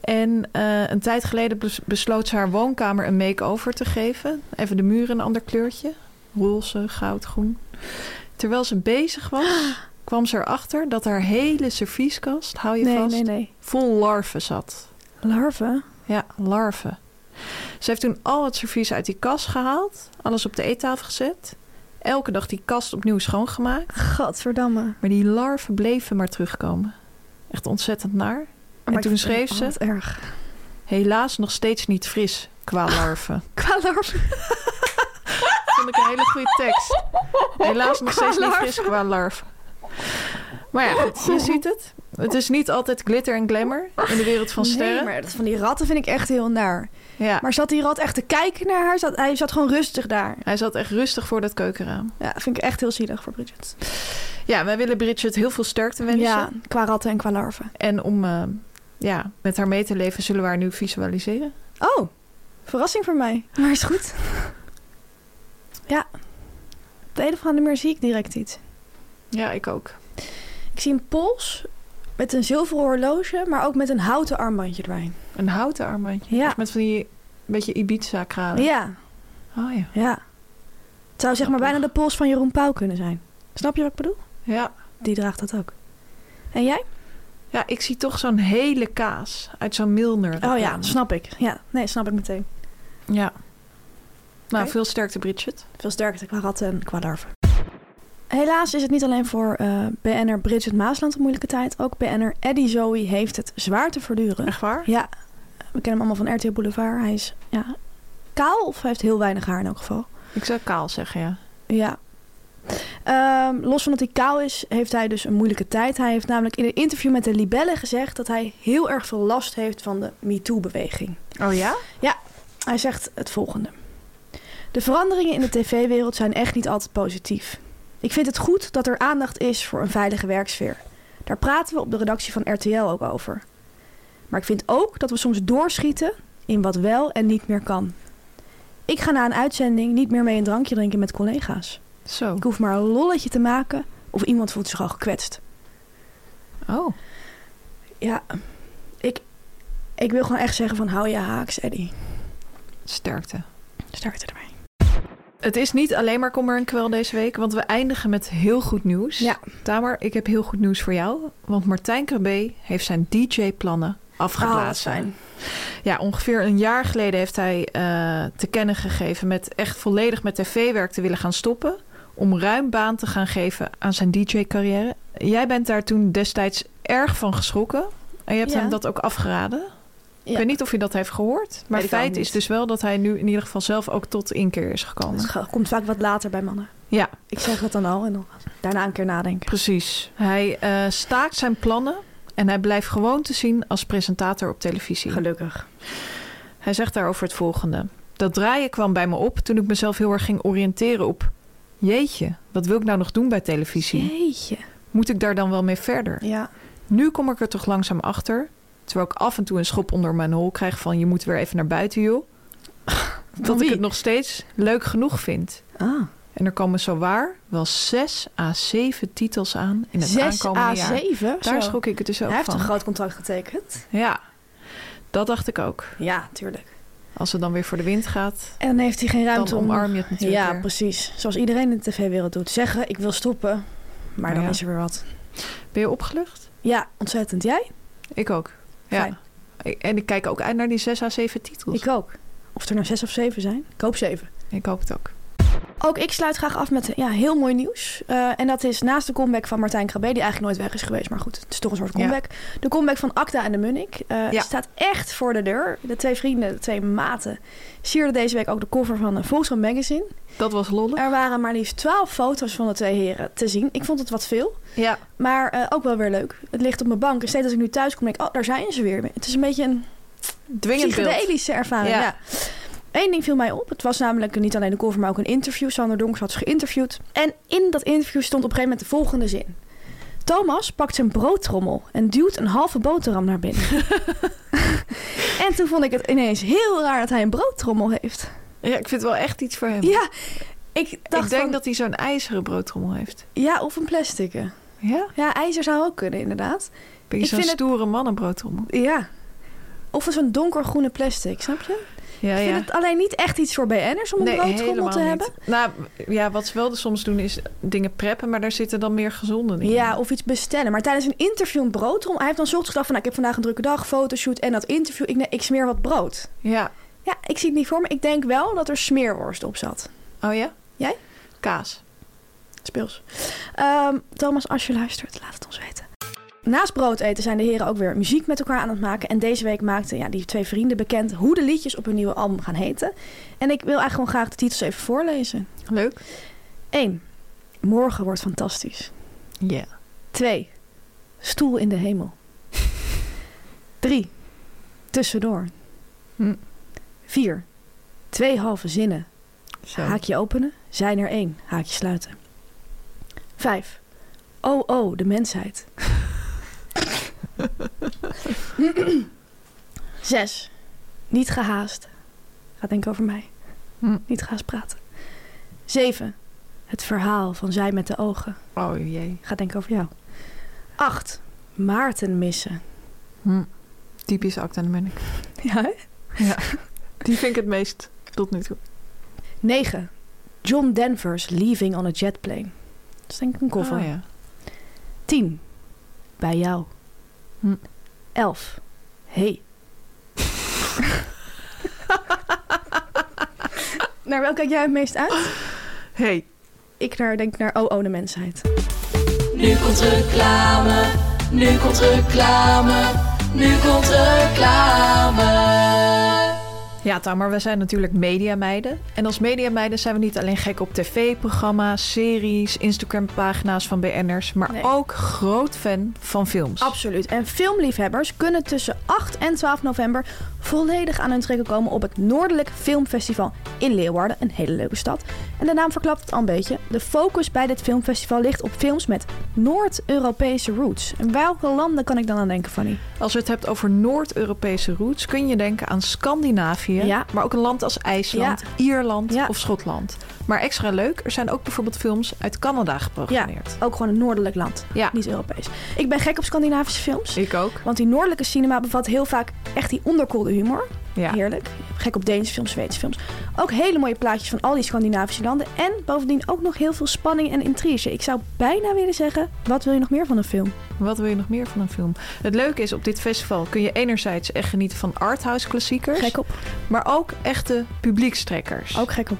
Speaker 3: En eh, een tijd geleden bes- besloot ze haar woonkamer een make-over te geven. Even de muren een ander kleurtje. Roze, goud, groen. Terwijl ze bezig was, kwam ze erachter dat haar hele servieskast, hou je
Speaker 2: nee,
Speaker 3: vast,
Speaker 2: nee, nee.
Speaker 3: vol larven zat.
Speaker 2: Larven?
Speaker 3: Ja, larven. Ze heeft toen al het servies uit die kast gehaald, alles op de eettafel gezet. Elke dag die kast opnieuw schoongemaakt.
Speaker 2: Gadverdamme.
Speaker 3: Maar die larven bleven maar terugkomen. Echt ontzettend naar.
Speaker 2: Maar ik
Speaker 3: toen
Speaker 2: vind
Speaker 3: schreef
Speaker 2: het
Speaker 3: ze-
Speaker 2: altijd erg.
Speaker 3: Helaas nog steeds niet fris qua larven.
Speaker 2: Qua larven.
Speaker 3: Vond ik een hele goede tekst. Helaas nog steeds niet fris qua larven. Maar ja, goed, je ziet het. Het is niet altijd glitter en glamour in de wereld van
Speaker 2: Nee,
Speaker 3: sterren.
Speaker 2: maar dat van die ratten vind ik echt heel naar.
Speaker 3: Ja,
Speaker 2: Maar zat die rat echt te kijken naar haar? Zat, hij zat gewoon rustig daar.
Speaker 3: hij zat echt rustig voor dat keukenraam.
Speaker 2: Ja, vind ik echt heel zielig voor Bridget.
Speaker 3: Ja, wij willen Bridget heel veel sterkte wensen.
Speaker 2: Ja, qua ratten en qua larven.
Speaker 3: En om eh, ja, met haar mee te leven, zullen we haar nu visualiseren.
Speaker 2: Oh, verrassing voor mij. Maar is goed. Ja. Op de een of andere manier zie ik direct iets.
Speaker 3: Ja, ik ook.
Speaker 2: Ik zie een pols met een zilveren horloge, maar ook met een houten armbandje erbij.
Speaker 3: Een houten armbandje.
Speaker 2: Ja.
Speaker 3: Echt Met van die beetje Ibiza-kralen.
Speaker 2: Ja,
Speaker 3: Oh ja.
Speaker 2: ja. Het zou zeg maar bijna de pols van Jeroen Pauw kunnen zijn. Snap je wat ik bedoel?
Speaker 3: ja.
Speaker 2: Die draagt dat ook. En jij?
Speaker 3: Ja, ik zie toch zo'n hele kaas uit zo'n Milner.
Speaker 2: Oh ja,
Speaker 3: reclame.
Speaker 2: snap ik. Ja, nee, snap ik meteen.
Speaker 3: Ja. Nou,
Speaker 2: Oké.
Speaker 3: veel sterkte, Bridget.
Speaker 2: Veel sterkte qua ratten en qua larven. Helaas is het niet alleen voor eh BN'er Bridget Maasland een moeilijke tijd. Ook BN'er Eddie Zoe heeft het zwaar te verduren.
Speaker 3: Echt waar?
Speaker 2: Ja, we kennen hem allemaal van RTL Boulevard. Hij is ja, kaal of hij heeft heel weinig haar in elk geval.
Speaker 3: Ik zou kaal zeggen, ja.
Speaker 2: Ja. Ehm, los van dat hij kaal is, heeft hij dus een moeilijke tijd. Hij heeft namelijk in een interview met de Libelle gezegd dat hij heel erg veel last heeft van de MeToo-beweging.
Speaker 3: Oh ja?
Speaker 2: Hij zegt het volgende. De veranderingen in de tv-wereld zijn echt niet altijd positief. Ik vind het goed dat er aandacht is voor een veilige werksfeer. Daar praten we op de redactie van RTL ook over. Maar ik vind ook dat we soms doorschieten in wat wel en niet meer kan. Ik ga na een uitzending niet meer mee een drankje drinken met collega's.
Speaker 3: Zo.
Speaker 2: Ik hoef maar een lolletje te maken of iemand voelt zich al gekwetst.
Speaker 3: Oh.
Speaker 2: Ja, ik, ik wil gewoon echt zeggen van hou je haaks, Eddie.
Speaker 3: Sterkte.
Speaker 2: Start ermee.
Speaker 3: Het is niet alleen maar kommer en kwel deze week, want we eindigen met heel goed nieuws.
Speaker 2: Ja.
Speaker 3: Tamer, ik heb heel goed nieuws voor jou, want Martijn Krabbe heeft zijn DJ-plannen
Speaker 2: Ah,
Speaker 3: afgeblazen.
Speaker 2: zijn.
Speaker 3: Ja, ongeveer een jaar geleden heeft hij eh, te kennen gegeven met echt volledig met tv-werk te willen gaan stoppen. Om ruim baan te gaan geven aan zijn DJ-carrière. Jij bent daar toen destijds erg van geschrokken. En je hebt
Speaker 2: Ja.
Speaker 3: hem dat ook afgeraden. Ik
Speaker 2: Ja.
Speaker 3: weet niet of je dat heeft gehoord. Maar
Speaker 2: ik ook
Speaker 3: feit
Speaker 2: niet.
Speaker 3: is dus wel dat hij nu in ieder geval zelf ook tot inkeer is gekomen.
Speaker 2: Het komt vaak wat later bij mannen.
Speaker 3: Ja,
Speaker 2: Ik zeg dat dan al en dan daarna een keer nadenken.
Speaker 3: precies. Hij eh, staakt zijn plannen en hij blijft gewoon te zien als presentator op televisie.
Speaker 2: Gelukkig.
Speaker 3: Hij zegt daarover het volgende. Dat draaien kwam bij me op toen ik mezelf heel erg ging oriënteren op... Jeetje, wat wil ik nou nog doen bij televisie?
Speaker 2: Jeetje.
Speaker 3: Moet ik daar dan wel mee verder?
Speaker 2: Ja.
Speaker 3: Nu kom ik er toch langzaam achter. Terwijl ik af en toe een schop onder mijn hol krijg van... je moet weer even naar buiten, joh. Dat ik
Speaker 2: wie?
Speaker 3: het nog steeds leuk genoeg vind.
Speaker 2: Ah.
Speaker 3: En er komen zowaar wel zes à zeven titels aan in het
Speaker 2: 6
Speaker 3: aankomende
Speaker 2: à
Speaker 3: jaar.
Speaker 2: 7?
Speaker 3: Daar schrok ik het dus ook
Speaker 2: Hij heeft
Speaker 3: van.
Speaker 2: een groot contract getekend.
Speaker 3: Ja, dat dacht ik ook.
Speaker 2: Ja, tuurlijk.
Speaker 3: Als het dan weer voor de wind gaat,
Speaker 2: En dan heeft hij geen ruimte
Speaker 3: dan
Speaker 2: om...
Speaker 3: omarm je het natuurlijk
Speaker 2: Ja,
Speaker 3: weer.
Speaker 2: precies. Zoals iedereen in de tv-wereld doet. Zeggen, ik wil stoppen. Maar
Speaker 3: Maar
Speaker 2: dan
Speaker 3: ja.
Speaker 2: is er weer wat.
Speaker 3: Ben je opgelucht?
Speaker 2: Ja, ontzettend. Jij?
Speaker 3: Ik ook. Ja.
Speaker 2: Fijn.
Speaker 3: Ik- En ik kijk ook uit naar die 6 à 7 titels.
Speaker 2: Ik ook. Of er nou zes of zeven zijn. Ik hoop zeven.
Speaker 3: Ik hoop het ook.
Speaker 2: Ook ik sluit graag af met ja, heel mooi nieuws. Eh, en dat is naast de comeback van Martijn Krabbe, die eigenlijk nooit weg is geweest, maar goed, het is toch een soort comeback. De comeback van Acta en de Munnik eh,
Speaker 3: Ja.
Speaker 2: staat echt voor de deur. De twee vrienden, de twee maten, sierden deze week ook de cover van een Volkskrant Magazine.
Speaker 3: Dat was lollig.
Speaker 2: Er waren maar liefst twaalf foto's van de twee heren te zien. Ik vond het wat veel,
Speaker 3: Ja.
Speaker 2: maar eh, ook wel weer leuk. Het ligt op mijn bank en steeds als ik nu thuis kom, denk ik, oh, daar zijn ze weer. Het is een beetje een
Speaker 3: Dwingend beeld.
Speaker 2: psychedelische ervaring.
Speaker 3: Ja.
Speaker 2: Ja. Eén ding viel mij op. Het was namelijk niet alleen de cover, maar ook een interview. Sander Donkers had ze geïnterviewd. En in dat interview stond op een gegeven moment de volgende zin. Thomas pakt zijn broodtrommel en duwt een halve boterham naar binnen. en toen vond ik het ineens heel raar dat hij een broodtrommel heeft.
Speaker 3: Ja, ik vind het wel echt iets voor hem.
Speaker 2: Ja, Ik dacht
Speaker 3: ik denk
Speaker 2: van,
Speaker 3: dat hij zo'n ijzeren broodtrommel heeft.
Speaker 2: ja, of een plastic.
Speaker 3: Ja?
Speaker 2: Ja, ijzer zou ook kunnen, inderdaad.
Speaker 3: Ben je
Speaker 2: Ik
Speaker 3: zo'n
Speaker 2: vind het-
Speaker 3: stoere mannenbroodtrommel?
Speaker 2: Ja. Of een zo'n donkergroene plastic, snap je?
Speaker 3: Ja,
Speaker 2: ik vind het alleen niet echt iets voor BN'ers om een broodtrommel te hebben.
Speaker 3: niet. Nou, ja, wat ze wel dus soms doen is dingen preppen, maar daar zitten dan meer gezonde dingen.
Speaker 2: Ja, of iets bestellen. Maar tijdens een interview een broodtrommel... Hij heeft dan 's ochtends gedacht van... nou, ik heb vandaag een drukke dag, fotoshoot en dat interview. Ik, nee, ik smeer wat brood.
Speaker 3: ja.
Speaker 2: Ja, ik zie het niet voor me. Ik denk wel dat er smeerworst op zat.
Speaker 3: Oh ja?
Speaker 2: Jij?
Speaker 3: Kaas.
Speaker 2: Speels. Ehm, Thomas, als je luistert, laat het ons weten. Naast brood eten zijn de heren ook weer muziek met elkaar aan het maken. En deze week maakten ja, die twee vrienden bekend hoe de liedjes op hun nieuwe album gaan heten. En ik wil eigenlijk gewoon graag de titels even voorlezen.
Speaker 3: Leuk.
Speaker 2: 1. Morgen wordt fantastisch.
Speaker 3: Ja.
Speaker 2: 2. Stoel in de hemel. 3. Tussendoor.
Speaker 3: Hm.
Speaker 2: 4. Twee halve zinnen.
Speaker 3: Zo.
Speaker 2: Haakje openen, zijn er één. Haakje sluiten. Vijf. Oh, oh, de mensheid. Zes. Niet gehaast. Gaat denk ik over mij.
Speaker 3: Hm.
Speaker 2: Niet gehaast praten. Zeven. Het verhaal van zij met de ogen.
Speaker 3: Oh jee.
Speaker 2: Gaat denk ik over jou. Acht. Maarten missen.
Speaker 3: Hm. Typisch Acta de Munnik.
Speaker 2: Ja,
Speaker 3: Die vind ik het meest tot nu toe.
Speaker 2: 9. John Denver's Leaving on a Jet Plane. Dat is denk ik een cover.
Speaker 3: Oh, ja.
Speaker 2: 10. Bij jou.
Speaker 3: Hm.
Speaker 2: 11. Hey. naar welke kijk jij het meest uit?
Speaker 3: Hey.
Speaker 2: Ik naar, denk naar Oh Oh de Mensheid.
Speaker 4: Nu komt reclame, nu komt reclame, nu komt reclame.
Speaker 3: Ja, Tamar, we zijn natuurlijk mediameiden. En als mediameiden zijn we niet alleen gek op tv-programma's, series, Instagram-pagina's van BN'ers, maar
Speaker 2: Nee.
Speaker 3: ook groot fan van films.
Speaker 2: Absoluut. En filmliefhebbers kunnen tussen 8 en 12 november volledig aan hun trekken komen op het Noordelijk Filmfestival in Leeuwarden, een hele leuke stad. En de naam verklapt het al een beetje. De focus bij dit filmfestival ligt op films met Noord-Europese roots. En welke landen kan ik dan aan denken, Fanny?
Speaker 3: Als we het hebben over Noord-Europese roots, kun je denken aan Scandinavië,
Speaker 2: Ja.
Speaker 3: maar ook een land als IJsland,
Speaker 2: Ja.
Speaker 3: Ierland
Speaker 2: Ja.
Speaker 3: of Schotland. Maar extra leuk, er zijn ook bijvoorbeeld films uit Canada geprogrammeerd.
Speaker 2: Ook gewoon een noordelijk land,
Speaker 3: Ja,
Speaker 2: niet Europees. Ik ben gek op Scandinavische films.
Speaker 3: ik ook.
Speaker 2: Want die noordelijke cinema bevat heel vaak echt die onderkoelde humor.
Speaker 3: Ja.
Speaker 2: Heerlijk. Gek op Deense films, Zweedse films. Ook hele mooie plaatjes van al die Scandinavische landen. En bovendien ook nog heel veel spanning en intrige. Ik zou bijna willen zeggen, wat wil je nog meer van een film?
Speaker 3: Wat wil je nog meer van een film? Het leuke is, op dit festival kun je enerzijds echt genieten van arthouse klassiekers,
Speaker 2: Gek op.
Speaker 3: maar ook echte publiekstrekkers.
Speaker 2: Ook gek op.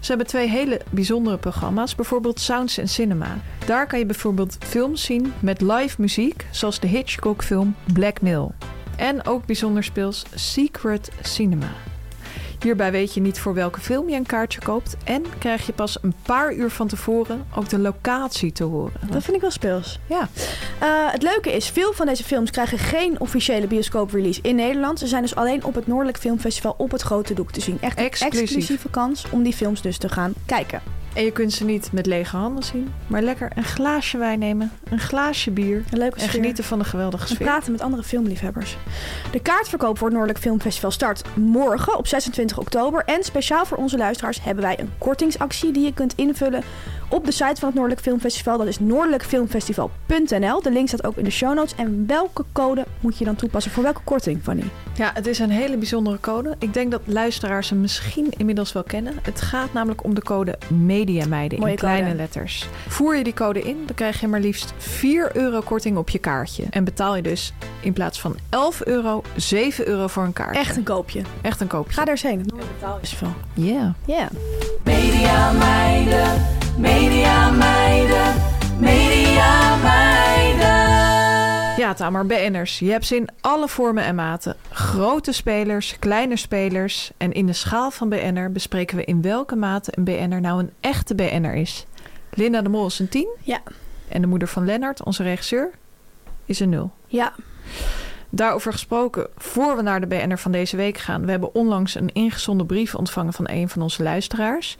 Speaker 3: Ze hebben twee hele bijzondere programma's, bijvoorbeeld Sounds and Cinema. Daar kan je bijvoorbeeld films zien met live muziek, zoals de Hitchcock-film Blackmail. En ook bijzonder speels Secret Cinema. Hierbij weet je niet voor welke film je een kaartje koopt en krijg je pas een paar uur van tevoren ook de locatie te horen.
Speaker 2: Dat vind ik wel speels.
Speaker 3: Ja,
Speaker 2: Eh, het leuke is, veel van deze films krijgen geen officiële bioscooprelease in Nederland. Ze zijn dus alleen op het Noordelijk Filmfestival op het grote doek te zien. Echt een
Speaker 3: Exclusief.
Speaker 2: exclusieve kans om die films dus te gaan kijken.
Speaker 3: en je kunt ze niet met lege handen zien, maar lekker een glaasje wijn nemen, een glaasje bier
Speaker 2: Een leuke
Speaker 3: en
Speaker 2: sfeer.
Speaker 3: genieten van de geweldige
Speaker 2: We
Speaker 3: sfeer.
Speaker 2: praten met andere filmliefhebbers. De kaartverkoop voor het Noordelijk Filmfestival start morgen op 26 oktober. En speciaal voor onze luisteraars hebben wij een kortingsactie die je kunt invullen op de site van het Noordelijk Filmfestival. Dat is noordelijkfilmfestival.nl. De link staat ook in de show notes. En welke code moet je dan toepassen voor welke korting, Fanny?
Speaker 3: Ja, het is een hele bijzondere code. Ik denk dat luisteraars hem misschien inmiddels wel kennen. Het gaat namelijk om de code Mediameiden
Speaker 2: Mooie
Speaker 3: in kleine
Speaker 2: code.
Speaker 3: letters. Voer je die code in, dan krijg je maar liefst 4 euro korting op je kaartje. En betaal je dus in plaats van 11 euro, 7 euro voor een kaart.
Speaker 2: Echt een koopje.
Speaker 3: Echt een koopje.
Speaker 2: Ga er eens heen. Het Noordelijk Filmfestival.
Speaker 3: Ja.
Speaker 2: Ja.
Speaker 4: Media meiden, media meiden, media meiden.
Speaker 3: Ja, Tamer, BN'ers. Je hebt ze in alle vormen en maten. Grote spelers, kleine spelers. En in de schaal van BN'er bespreken we in welke mate een BN'er nou een echte BN'er is. Linda de Mol is een 10.
Speaker 2: Ja.
Speaker 3: En de moeder van Lennart, onze regisseur, is een 0.
Speaker 2: Ja.
Speaker 3: Daarover gesproken, voor we naar de BN'er van deze week gaan... we hebben onlangs een ingezonden brief ontvangen van een van onze luisteraars.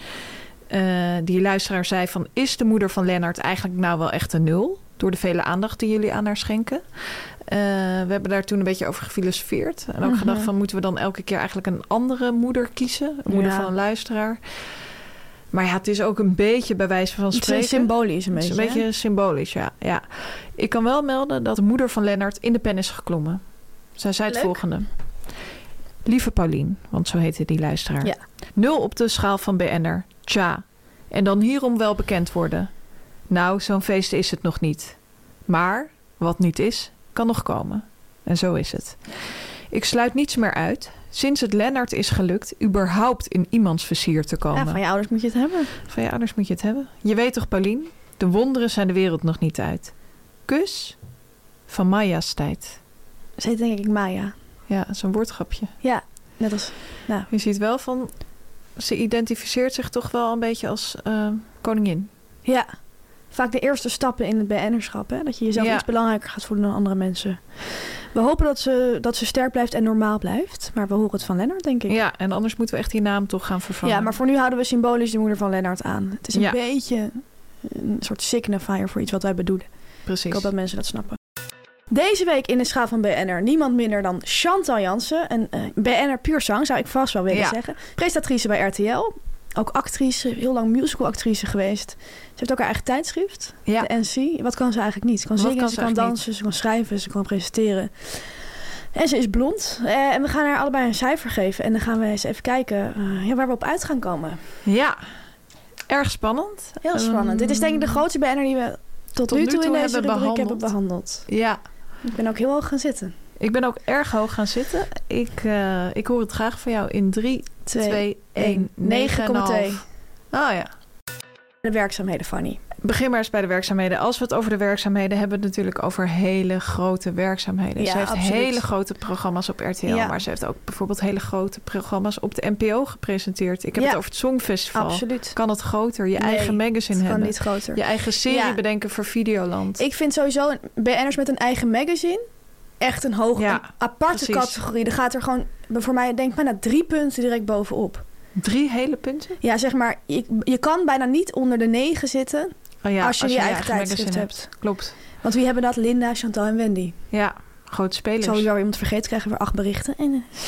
Speaker 3: Eh, die luisteraar zei van... is de moeder van Lennart eigenlijk nou wel echt een nul? Door de vele aandacht die jullie aan haar schenken. Eh, we hebben daar toen een beetje over gefilosofeerd. En ook
Speaker 2: Mhm.
Speaker 3: gedacht van, moeten we dan elke keer eigenlijk een andere moeder kiezen? Een moeder
Speaker 2: Ja.
Speaker 3: van een luisteraar? Maar ja, het is ook een beetje bij wijze van
Speaker 2: Het is een
Speaker 3: spreken.
Speaker 2: eh, symbolisch een
Speaker 3: Het is
Speaker 2: beetje.
Speaker 3: een
Speaker 2: hè?
Speaker 3: beetje symbolisch, ja. ja. Ik kan wel melden dat de moeder van Lennart in de pen is geklommen. Zij zei het
Speaker 2: Leuk.
Speaker 3: volgende. Lieve Paulien, want zo heette die luisteraar.
Speaker 2: Ja.
Speaker 3: Nul op de schaal van BN'er. Tja. En dan hierom wel bekend worden. Nou, zo'n feest is het nog niet. Maar wat niet is, kan nog komen. En zo is het. Ik sluit niets meer uit. Sinds het Lennart is gelukt, überhaupt in iemands versier te komen.
Speaker 2: Ja, van je ouders moet je het hebben.
Speaker 3: Van je ouders moet je het hebben. Je weet toch, Paulien? De wonderen zijn de wereld nog niet uit. Kus van Maya's tijd.
Speaker 2: Ze heet denk ik Maya.
Speaker 3: Ja, zo'n woordgrapje.
Speaker 2: Ja, net als... Nou,
Speaker 3: Je ziet wel van... Ze identificeert zich toch wel een beetje als eh, koningin.
Speaker 2: ja. Vaak de eerste stappen in het BN'erschap. Hè? Dat je jezelf
Speaker 3: Ja.
Speaker 2: iets belangrijker gaat voelen dan andere mensen. We hopen dat ze, dat ze sterk blijft en normaal blijft. Maar we horen het van Lennart, denk ik.
Speaker 3: Ja, en anders moeten we echt die naam toch gaan vervangen.
Speaker 2: Ja, maar voor nu houden we symbolisch de moeder van Lennart aan. Het is een
Speaker 3: Ja.
Speaker 2: beetje een soort signifier voor iets wat wij bedoelen. Ik
Speaker 3: Precies.
Speaker 2: hoop dat mensen dat snappen. Deze week in de schaal van BNR niemand minder dan Chantal Jansen. Een eh, BNR puur zang, zou ik vast wel willen
Speaker 3: Ja.
Speaker 2: zeggen. Presentatrice bij RTL. Ook actrice, heel lang musicalactrice geweest. Ze heeft ook haar eigen tijdschrift,
Speaker 3: Ja.
Speaker 2: de NC. Wat kan ze eigenlijk niet? Ze kan
Speaker 3: Wat
Speaker 2: zingen,
Speaker 3: kan
Speaker 2: ze
Speaker 3: ze
Speaker 2: kan
Speaker 3: eigenlijk
Speaker 2: dansen, ze kan schrijven, ze kan presenteren. En ze is blond. Eh, en we gaan haar allebei een cijfer geven. En dan gaan we eens even kijken eh, ja, waar we op uit gaan komen.
Speaker 3: Ja. Erg spannend.
Speaker 2: Heel spannend.
Speaker 3: Ehm,
Speaker 2: Dit is denk ik de grootste BNR die we tot, nu toe in deze
Speaker 3: hebben
Speaker 2: rubriek hebben
Speaker 3: behandeld.
Speaker 2: behandeld.
Speaker 3: Ja.
Speaker 2: Ik ben ook heel hoog gaan zitten.
Speaker 3: Ik ben ook erg hoog gaan zitten. Ik, eh, ik hoor het graag van jou in 3,
Speaker 2: Twee,
Speaker 3: 2,
Speaker 2: één,
Speaker 3: 1, 9,
Speaker 2: 9,2.
Speaker 3: Oh ja.
Speaker 2: De werkzaamheden, Fanny.
Speaker 3: Begin maar eens bij de werkzaamheden. Als we het over de werkzaamheden hebben, we het natuurlijk over hele grote werkzaamheden.
Speaker 2: Ja,
Speaker 3: ze heeft
Speaker 2: absoluut.
Speaker 3: hele grote programma's op RTL,
Speaker 2: Ja.
Speaker 3: maar ze heeft ook bijvoorbeeld hele grote programma's op de NPO gepresenteerd. Ik heb
Speaker 2: Ja.
Speaker 3: het over het Songfestival.
Speaker 2: Absoluut.
Speaker 3: Kan het groter? Je
Speaker 2: Nee,
Speaker 3: eigen magazine
Speaker 2: het kan
Speaker 3: hebben.
Speaker 2: niet groter.
Speaker 3: Je eigen serie
Speaker 2: Ja.
Speaker 3: bedenken voor Videoland.
Speaker 2: Ik vind sowieso een- BN'ers met een eigen magazine echt een hoge,
Speaker 3: Ja,
Speaker 2: een aparte
Speaker 3: precies.
Speaker 2: categorie. Dan gaat er gewoon, voor mij denk ik bijna drie punten direct bovenop.
Speaker 3: Drie hele punten.
Speaker 2: Ja, zeg maar, je, je kan bijna niet onder de negen zitten.
Speaker 3: Oh ja,
Speaker 2: Als je je eigen tijdschrift
Speaker 3: magazine
Speaker 2: hebt.
Speaker 3: Klopt.
Speaker 2: Want wie hebben dat? Linda, Chantal en Wendy.
Speaker 3: Ja, grote
Speaker 2: Ik
Speaker 3: spelers.
Speaker 2: zal weer iemand vergeten, krijgen we weer acht berichten. En, eh,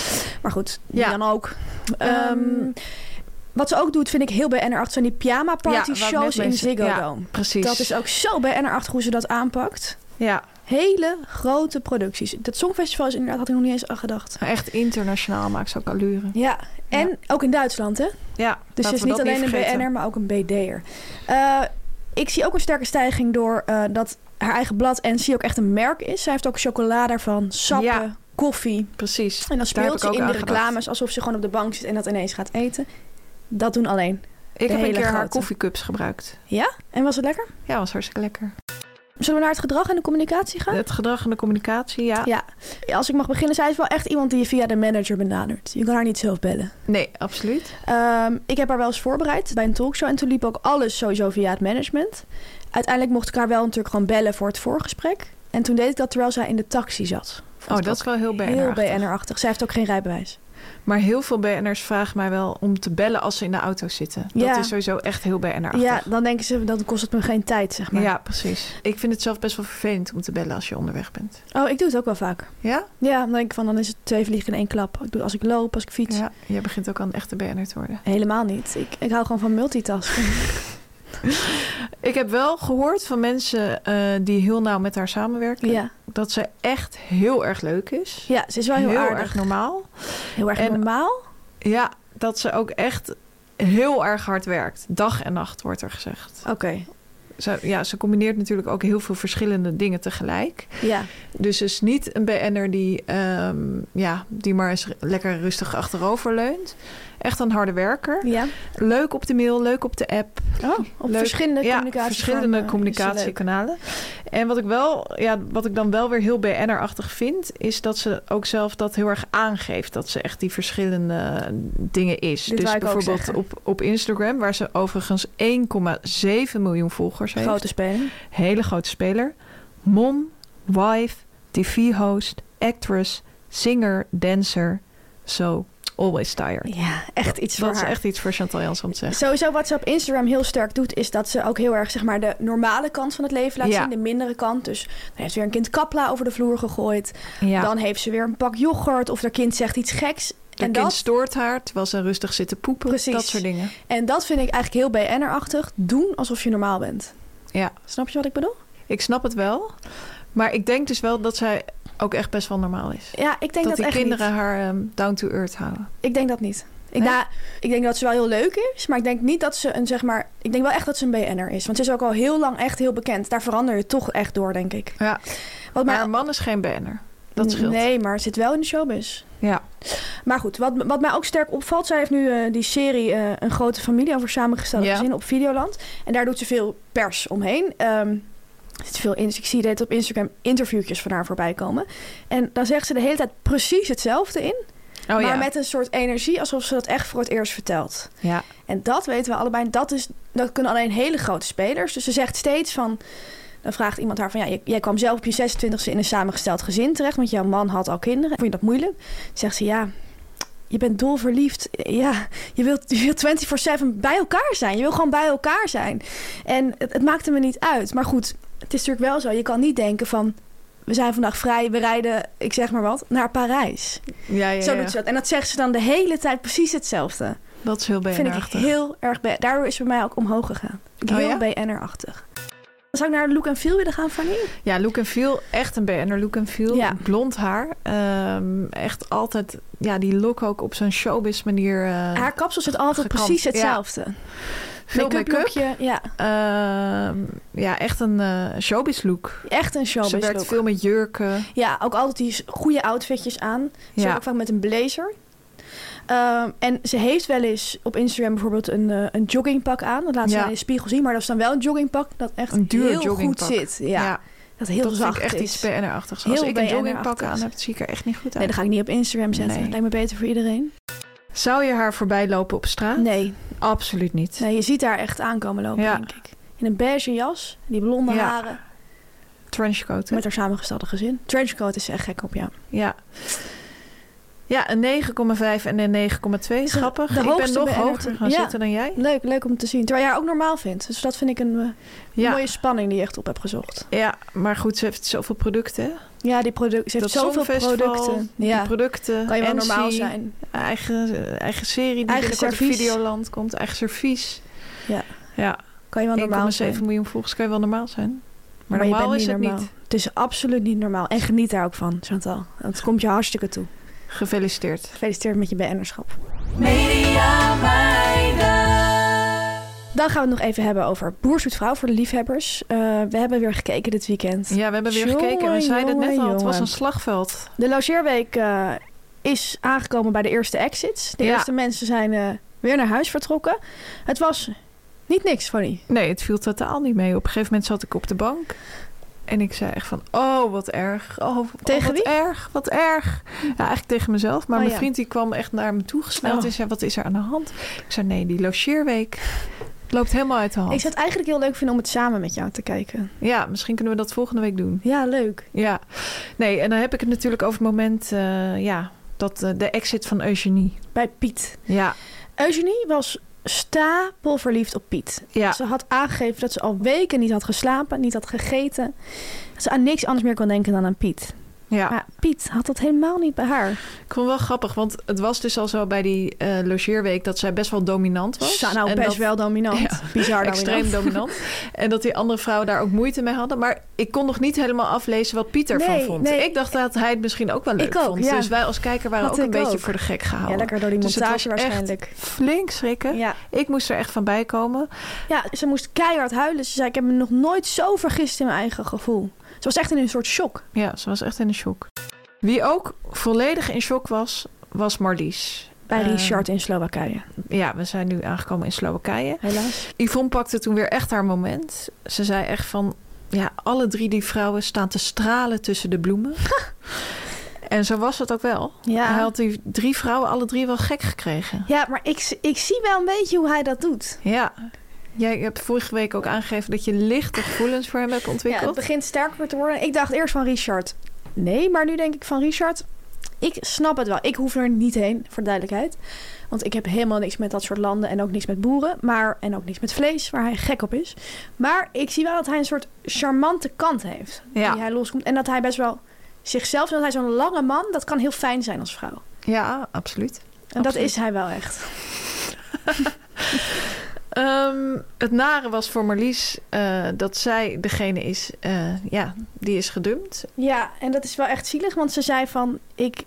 Speaker 2: maar goed, die
Speaker 3: Ja.
Speaker 2: dan ook.
Speaker 3: Ehm,
Speaker 2: Ehm, wat ze ook doet, vind ik heel BNR8, zijn die pyjama party
Speaker 3: Ja, wou ik net
Speaker 2: shows in
Speaker 3: mensen-
Speaker 2: Ziggo
Speaker 3: ja,
Speaker 2: Dome.
Speaker 3: Precies.
Speaker 2: Dat is ook zo BNR8 hoe ze dat aanpakt.
Speaker 3: Ja,
Speaker 2: Hele grote producties. Dat Songfestival is inderdaad, had ik nog niet eens aan gedacht.
Speaker 3: echt internationaal maakt ze ook allure.
Speaker 2: Ja, en ook in Duitsland, hè?
Speaker 3: Ja,
Speaker 2: Dus
Speaker 3: laten
Speaker 2: het is
Speaker 3: we
Speaker 2: niet
Speaker 3: dat
Speaker 2: alleen een
Speaker 3: vergeten.
Speaker 2: BN'er, maar ook een BD'er. Eh ik zie ook een sterke stijging door eh, dat haar eigen blad en zie ook echt een merk is. Zij heeft ook chocola daarvan, sappen,
Speaker 3: Ja.
Speaker 2: koffie.
Speaker 3: Precies.
Speaker 2: En dan
Speaker 3: Daar heb
Speaker 2: speelt
Speaker 3: ik
Speaker 2: ze
Speaker 3: ook
Speaker 2: in
Speaker 3: aan
Speaker 2: de
Speaker 3: gedacht.
Speaker 2: reclames alsof ze gewoon op de bank zit en dat ineens gaat eten. Dat doen alleen.
Speaker 3: Ik
Speaker 2: De
Speaker 3: heb een
Speaker 2: hele
Speaker 3: keer haar
Speaker 2: grote.
Speaker 3: koffiecups gebruikt.
Speaker 2: Ja? En was het lekker?
Speaker 3: Ja, was hartstikke lekker.
Speaker 2: Zullen we naar het gedrag en de communicatie gaan?
Speaker 3: Het gedrag en de communicatie, ja.
Speaker 2: Ja. Als ik mag beginnen, zij is wel echt iemand die je via de manager benadert. Je kan haar niet zelf bellen.
Speaker 3: Nee, absoluut.
Speaker 2: Ehm, ik heb haar wel eens voorbereid bij een talkshow. En toen liep ook alles sowieso via het management. Uiteindelijk mocht ik haar wel natuurlijk gewoon bellen voor het voorgesprek. En toen deed ik dat terwijl zij in de taxi zat.
Speaker 3: Oh,
Speaker 2: Vond ik
Speaker 3: dat is wel heel
Speaker 2: ook
Speaker 3: BNR.
Speaker 2: heel BNR-achtig. Zij heeft ook geen rijbewijs.
Speaker 3: Maar heel veel BN'ers vragen mij wel om te bellen als ze in de auto zitten.
Speaker 2: Ja.
Speaker 3: Dat is sowieso echt heel BNR-achtig.
Speaker 2: Ja, dan denken ze, dan kost het me geen tijd, zeg maar.
Speaker 3: ja, precies. Ik vind het zelf best wel vervelend om te bellen als je onderweg bent.
Speaker 2: Oh, ik doe het ook wel vaak.
Speaker 3: Ja?
Speaker 2: Ja, dan denk ik van, dan is het twee vliegen in één klap. Ik doe als ik loop, als ik fiets.
Speaker 3: Ja, jij begint ook aan een echte BN'er te worden.
Speaker 2: Helemaal niet. Ik, ik hou gewoon van multitasking.
Speaker 3: Ik heb wel gehoord van mensen eh, die heel nauw met haar samenwerken...
Speaker 2: ja.
Speaker 3: dat ze echt heel erg leuk is.
Speaker 2: ja, ze is wel heel, aardig.
Speaker 3: erg normaal.
Speaker 2: heel erg
Speaker 3: En-
Speaker 2: normaal.
Speaker 3: Ja, dat ze ook echt heel erg hard werkt. Dag en nacht wordt er gezegd.
Speaker 2: Oké,
Speaker 3: Ze, ja, ze combineert natuurlijk ook heel veel verschillende dingen tegelijk.
Speaker 2: ja.
Speaker 3: Dus ze is niet een BN'er die, ehm, ja, die maar eens lekker rustig achterover leunt. Echt een harde werker.
Speaker 2: ja.
Speaker 3: Leuk op de mail, leuk op de app.
Speaker 2: Oh, op
Speaker 3: Leuk.
Speaker 2: verschillende eh,
Speaker 3: ja,
Speaker 2: communicatie.
Speaker 3: verschillende communicatiekanalen. En wat ik, wel, ja, wat ik dan wel weer heel BN'er-achtig vind... is dat ze ook zelf dat heel erg aangeeft. Dat ze echt die verschillende dingen is.
Speaker 2: Dit
Speaker 3: dus
Speaker 2: wou ik ook
Speaker 3: bijvoorbeeld
Speaker 2: zeggen.
Speaker 3: op, op Instagram... waar ze overigens 1,7 miljoen volgers heeft.
Speaker 2: Grote speler.
Speaker 3: Hele grote speler. Mom, wife, tv-host, actress, singer, dancer. So, always tired.
Speaker 2: Ja, echt iets
Speaker 3: Dat
Speaker 2: voor
Speaker 3: is
Speaker 2: haar. Dus-
Speaker 3: echt iets voor Chantal Jans om te zeggen.
Speaker 2: Sowieso wat ze op Instagram heel sterk doet... is dat ze ook heel erg zeg maar, de normale kant van het leven laat
Speaker 3: Ja.
Speaker 2: zien. De mindere kant. Dus dan heeft ze weer een kind kapla over de vloer gegooid.
Speaker 3: Ja.
Speaker 2: Dan heeft ze weer een pak yoghurt. Of haar kind zegt iets geks.
Speaker 3: De
Speaker 2: En
Speaker 3: kind
Speaker 2: dat-
Speaker 3: stoort haar terwijl ze rustig zit te poepen.
Speaker 2: Precies.
Speaker 3: Dat soort dingen.
Speaker 2: En dat vind ik eigenlijk heel BN'er-achtig. Doen alsof je normaal bent.
Speaker 3: Ja,
Speaker 2: Snap je wat ik bedoel?
Speaker 3: ik snap het wel. Maar ik denk dus wel dat zij ook echt best wel normaal is.
Speaker 2: Ja, ik denk dat,
Speaker 3: dat, die
Speaker 2: echt
Speaker 3: kinderen
Speaker 2: niet.
Speaker 3: haar ehm, down to earth houden.
Speaker 2: Ik denk dat niet. Ik,
Speaker 3: Nee?
Speaker 2: nou, ik denk dat ze wel heel leuk is, maar ik denk niet dat ze een zeg maar. Ik denk wel echt dat ze een BN'er is. Want ze is ook al heel lang echt heel bekend. Daar verander je toch echt door, denk ik.
Speaker 3: Ja.
Speaker 2: Wat
Speaker 3: Maar
Speaker 2: mij-
Speaker 3: haar man is geen banner. Dat scheelt.
Speaker 2: Nee, maar het zit wel in de showbiz.
Speaker 3: Ja.
Speaker 2: Maar goed, wat, wat mij ook sterk opvalt, zij heeft nu eh, die serie eh, Een grote familie over samengestelde
Speaker 3: Ja.
Speaker 2: gezinnen op Videoland. En daar doet ze veel pers omheen. Ehm, er zit veel in, ik zie dat op Instagram interviewtjes van haar voorbij komen. En dan zegt ze de hele tijd precies hetzelfde in.
Speaker 3: Oh
Speaker 2: maar
Speaker 3: ja.
Speaker 2: met een soort energie alsof ze dat echt voor het eerst vertelt.
Speaker 3: ja.
Speaker 2: En dat weten we allebei. Dat, is, dat kunnen alleen hele grote spelers. Dus ze zegt steeds van... Dan vraagt iemand haar van... Ja, jij- jij kwam zelf op je 26e in een samengesteld gezin terecht... want jouw man had al kinderen. Vond je dat moeilijk? Zegt ze, ja... Je bent dolverliefd. Ja, je wilt, je wilt 24-7 bij elkaar zijn. Je wil gewoon bij elkaar zijn. En het, het maakte me niet uit. Maar goed, het is natuurlijk wel zo. Je kan niet denken van... We zijn vandaag vrij, we rijden, ik zeg maar wat, naar Parijs.
Speaker 3: Ja, ja,
Speaker 2: Zo
Speaker 3: ja.
Speaker 2: doet ze dat. En dat zegt ze dan de hele tijd precies hetzelfde
Speaker 3: Dat is heel
Speaker 2: vind
Speaker 3: bnr
Speaker 2: ik heel erg... be- Daardoor is het bij mij ook omhoog gegaan.
Speaker 3: Oh
Speaker 2: Heel
Speaker 3: ja?
Speaker 2: BN'er-achtig. Zou ik naar Look and Feel willen gaan, Fanny?
Speaker 3: Ja, look and feel. Echt een BN'er look and feel.
Speaker 2: Ja.
Speaker 3: Blond haar. Ehm, echt altijd ja, die look ook op zo'n showbiz manier. eh,
Speaker 2: Haar kapsel zit altijd
Speaker 3: Gekant,
Speaker 2: precies
Speaker 3: ja.
Speaker 2: hetzelfde.
Speaker 3: veel make-up.
Speaker 2: lookje, Ja,
Speaker 3: Ehm, ja, echt een eh, showbiz look.
Speaker 2: echt een showbiz
Speaker 3: Ze werkt
Speaker 2: look.
Speaker 3: veel met jurken.
Speaker 2: Ja, ook altijd die goede outfitjes aan. Ze
Speaker 3: Ja.
Speaker 2: ook vaak met een blazer. Ehm, en ze heeft wel eens op Instagram bijvoorbeeld een, eh, een joggingpak aan. Dat laat ze
Speaker 3: Ja.
Speaker 2: dan in de spiegel zien. Maar dat is dan wel een joggingpak dat echt
Speaker 3: Een duur
Speaker 2: heel goed
Speaker 3: joggingpak.
Speaker 2: zit. Ja, Dat heel
Speaker 3: dat
Speaker 2: zacht
Speaker 3: vind ik echt
Speaker 2: is.
Speaker 3: iets BNR-achtigs. Als
Speaker 2: Heel
Speaker 3: ik een
Speaker 2: BNR-achtig.
Speaker 3: joggingpak aan heb, zie ik er echt niet goed uit.
Speaker 2: Nee, dat ga ik niet op Instagram zetten.
Speaker 3: Nee.
Speaker 2: Lijkt me beter voor iedereen.
Speaker 3: Zou je haar voorbij lopen op straat?
Speaker 2: Nee,
Speaker 3: Absoluut niet.
Speaker 2: Nee, je ziet haar echt aankomen lopen,
Speaker 3: Ja.
Speaker 2: denk ik. In een beige jas, die blonde
Speaker 3: Ja.
Speaker 2: haren,
Speaker 3: Trenchcoat. hè?
Speaker 2: met haar samengestelde gezin. Trenchcoat is ze echt gek op jou.
Speaker 3: Ja. Ja, een 9,5 en een 9,2.
Speaker 2: Is de-
Speaker 3: Grappig.
Speaker 2: de
Speaker 3: ik ben
Speaker 2: hoogste
Speaker 3: nog
Speaker 2: BNR
Speaker 3: hoger gaan
Speaker 2: ja.
Speaker 3: zitten dan jij.
Speaker 2: Leuk, leuk om te zien. Terwijl jij haar ook normaal vindt. Dus dat vind ik een eh,
Speaker 3: Ja.
Speaker 2: mooie spanning die je echt op hebt gezocht.
Speaker 3: Ja, maar goed, ze heeft zoveel producten. hè?
Speaker 2: Ja, die producten. Ze heeft zoveel
Speaker 3: Songfestival,
Speaker 2: producten.
Speaker 3: die
Speaker 2: Ja,
Speaker 3: producten.
Speaker 2: kan je wel
Speaker 3: NC,
Speaker 2: normaal zijn.
Speaker 3: Eigen, eigen serie die
Speaker 2: Eigen
Speaker 3: binnenkort op
Speaker 2: servies.
Speaker 3: Videoland komt. Eigen servies.
Speaker 2: Ja.
Speaker 3: ja.
Speaker 2: Kan je wel normaal
Speaker 3: 1,7
Speaker 2: zijn.
Speaker 3: miljoen volgers kan je wel normaal zijn. Maar,
Speaker 2: je
Speaker 3: normaal
Speaker 2: bent
Speaker 3: is het
Speaker 2: normaal.
Speaker 3: niet.
Speaker 2: Het is absoluut niet normaal. En geniet daar ook van, Chantal. Want het komt je hartstikke toe.
Speaker 3: Gefeliciteerd.
Speaker 2: Gefeliciteerd met je BN'erschap.
Speaker 4: Media meiden.
Speaker 2: Dan gaan we het nog even hebben over Boer zoekt vrouw voor de liefhebbers. Eh, we hebben weer gekeken dit weekend.
Speaker 3: Ja, we hebben weer
Speaker 2: Jongen,
Speaker 3: gekeken. We zeiden het net al, het was
Speaker 2: jongen.
Speaker 3: een slagveld.
Speaker 2: De logeerweek eh, is aangekomen bij de eerste exits. De
Speaker 3: Ja.
Speaker 2: eerste mensen zijn eh, weer naar huis vertrokken. Het was niet niks, Fanny.
Speaker 3: Nee, het viel totaal niet mee. Op een gegeven moment zat ik op de bank. En ik zei echt van, oh, wat erg. Oh, oh,
Speaker 2: Tegen wie?
Speaker 3: wat erg, wat erg. Ja, eigenlijk tegen mezelf. Maar
Speaker 2: Oh,
Speaker 3: mijn
Speaker 2: ja.
Speaker 3: vriend die kwam echt naar me toe gesneld
Speaker 2: Oh.
Speaker 3: en zei, wat is er aan de hand? Ik zei, nee, die logeerweek loopt helemaal uit de hand.
Speaker 2: Ik zou het eigenlijk heel leuk vinden om het samen met jou te kijken.
Speaker 3: Ja, misschien kunnen we dat volgende week doen.
Speaker 2: Ja, leuk.
Speaker 3: Ja, nee, en dan heb ik het natuurlijk over het moment, eh, ja, dat eh, de exit van Eugenie.
Speaker 2: Bij Piet.
Speaker 3: Ja,
Speaker 2: Eugenie was stapelverliefd op Piet.
Speaker 3: ja.
Speaker 2: Ze had aangegeven dat ze al weken niet had geslapen, niet had gegeten. Dat ze aan niks anders meer kon denken dan aan Piet.
Speaker 3: ja.
Speaker 2: Maar Piet had dat helemaal niet bij haar.
Speaker 3: Ik vond het wel grappig, want het was dus al zo bij die eh, logeerweek dat zij best wel dominant was.
Speaker 2: Sa- nou,
Speaker 3: En
Speaker 2: best
Speaker 3: dat-
Speaker 2: wel dominant.
Speaker 3: Ja.
Speaker 2: Bizar dominant.
Speaker 3: Extreem dominant. En dat die andere vrouwen daar ook moeite mee hadden. Maar ik kon nog niet helemaal aflezen wat Pieter
Speaker 2: Nee,
Speaker 3: van vond.
Speaker 2: nee.
Speaker 3: Ik dacht dat hij het misschien ook wel leuk
Speaker 2: Ik ook,
Speaker 3: vond.
Speaker 2: ja.
Speaker 3: Dus wij als kijker waren
Speaker 2: Had
Speaker 3: ook een
Speaker 2: ik
Speaker 3: beetje
Speaker 2: ook.
Speaker 3: voor de gek gehouden.
Speaker 2: Ja, lekker door die
Speaker 3: Dus het
Speaker 2: montage
Speaker 3: was echt
Speaker 2: waarschijnlijk.
Speaker 3: Flink schrikken.
Speaker 2: Ja.
Speaker 3: Ik moest er echt van bij komen.
Speaker 2: Ja, ze moest keihard huilen. Ze zei, ik heb me nog nooit zo vergist in mijn eigen gevoel. Ze was echt in een soort shock.
Speaker 3: Ja, ze was echt in een shock. Wie ook volledig in shock was, was Marlies.
Speaker 2: Bij
Speaker 3: Eh,
Speaker 2: Richard in Slowakije,
Speaker 3: Ja, we zijn nu aangekomen in Slowakije.
Speaker 2: helaas.
Speaker 3: Yvonne pakte toen weer echt haar moment. Ze zei echt van... Ja, alle drie die vrouwen staan te stralen tussen de bloemen. en zo was het ook wel.
Speaker 2: Ja.
Speaker 3: Hij had die drie vrouwen alle drie wel gek gekregen.
Speaker 2: Ja, maar ik, ik zie wel een beetje hoe hij dat doet.
Speaker 3: Ja. Jij hebt vorige week ook aangegeven dat je lichte gevoelens voor hem hebt
Speaker 2: Ja, het
Speaker 3: ontwikkeld.
Speaker 2: begint sterker te worden. Ik dacht eerst van Richard. Nee, maar nu denk ik van Richard. Ik snap het wel. Ik hoef er niet heen, voor duidelijkheid. Want ik heb helemaal niks met dat soort landen en ook niks met boeren. Maar, en ook niks met vlees, waar hij gek op is. Maar ik zie wel dat hij een soort charmante kant heeft.
Speaker 3: Ja.
Speaker 2: Die hij loskomt. En dat hij best wel zichzelf, dat hij zo'n lange man, dat kan heel fijn zijn als vrouw.
Speaker 3: Ja, absoluut.
Speaker 2: En dat
Speaker 3: Absoluut.
Speaker 2: is hij wel echt.
Speaker 3: Ehm, het nare was voor Marlies eh, dat zij degene is, eh, ja, die is gedumpt.
Speaker 2: Ja, en dat is wel echt zielig, want ze zei van... Ik,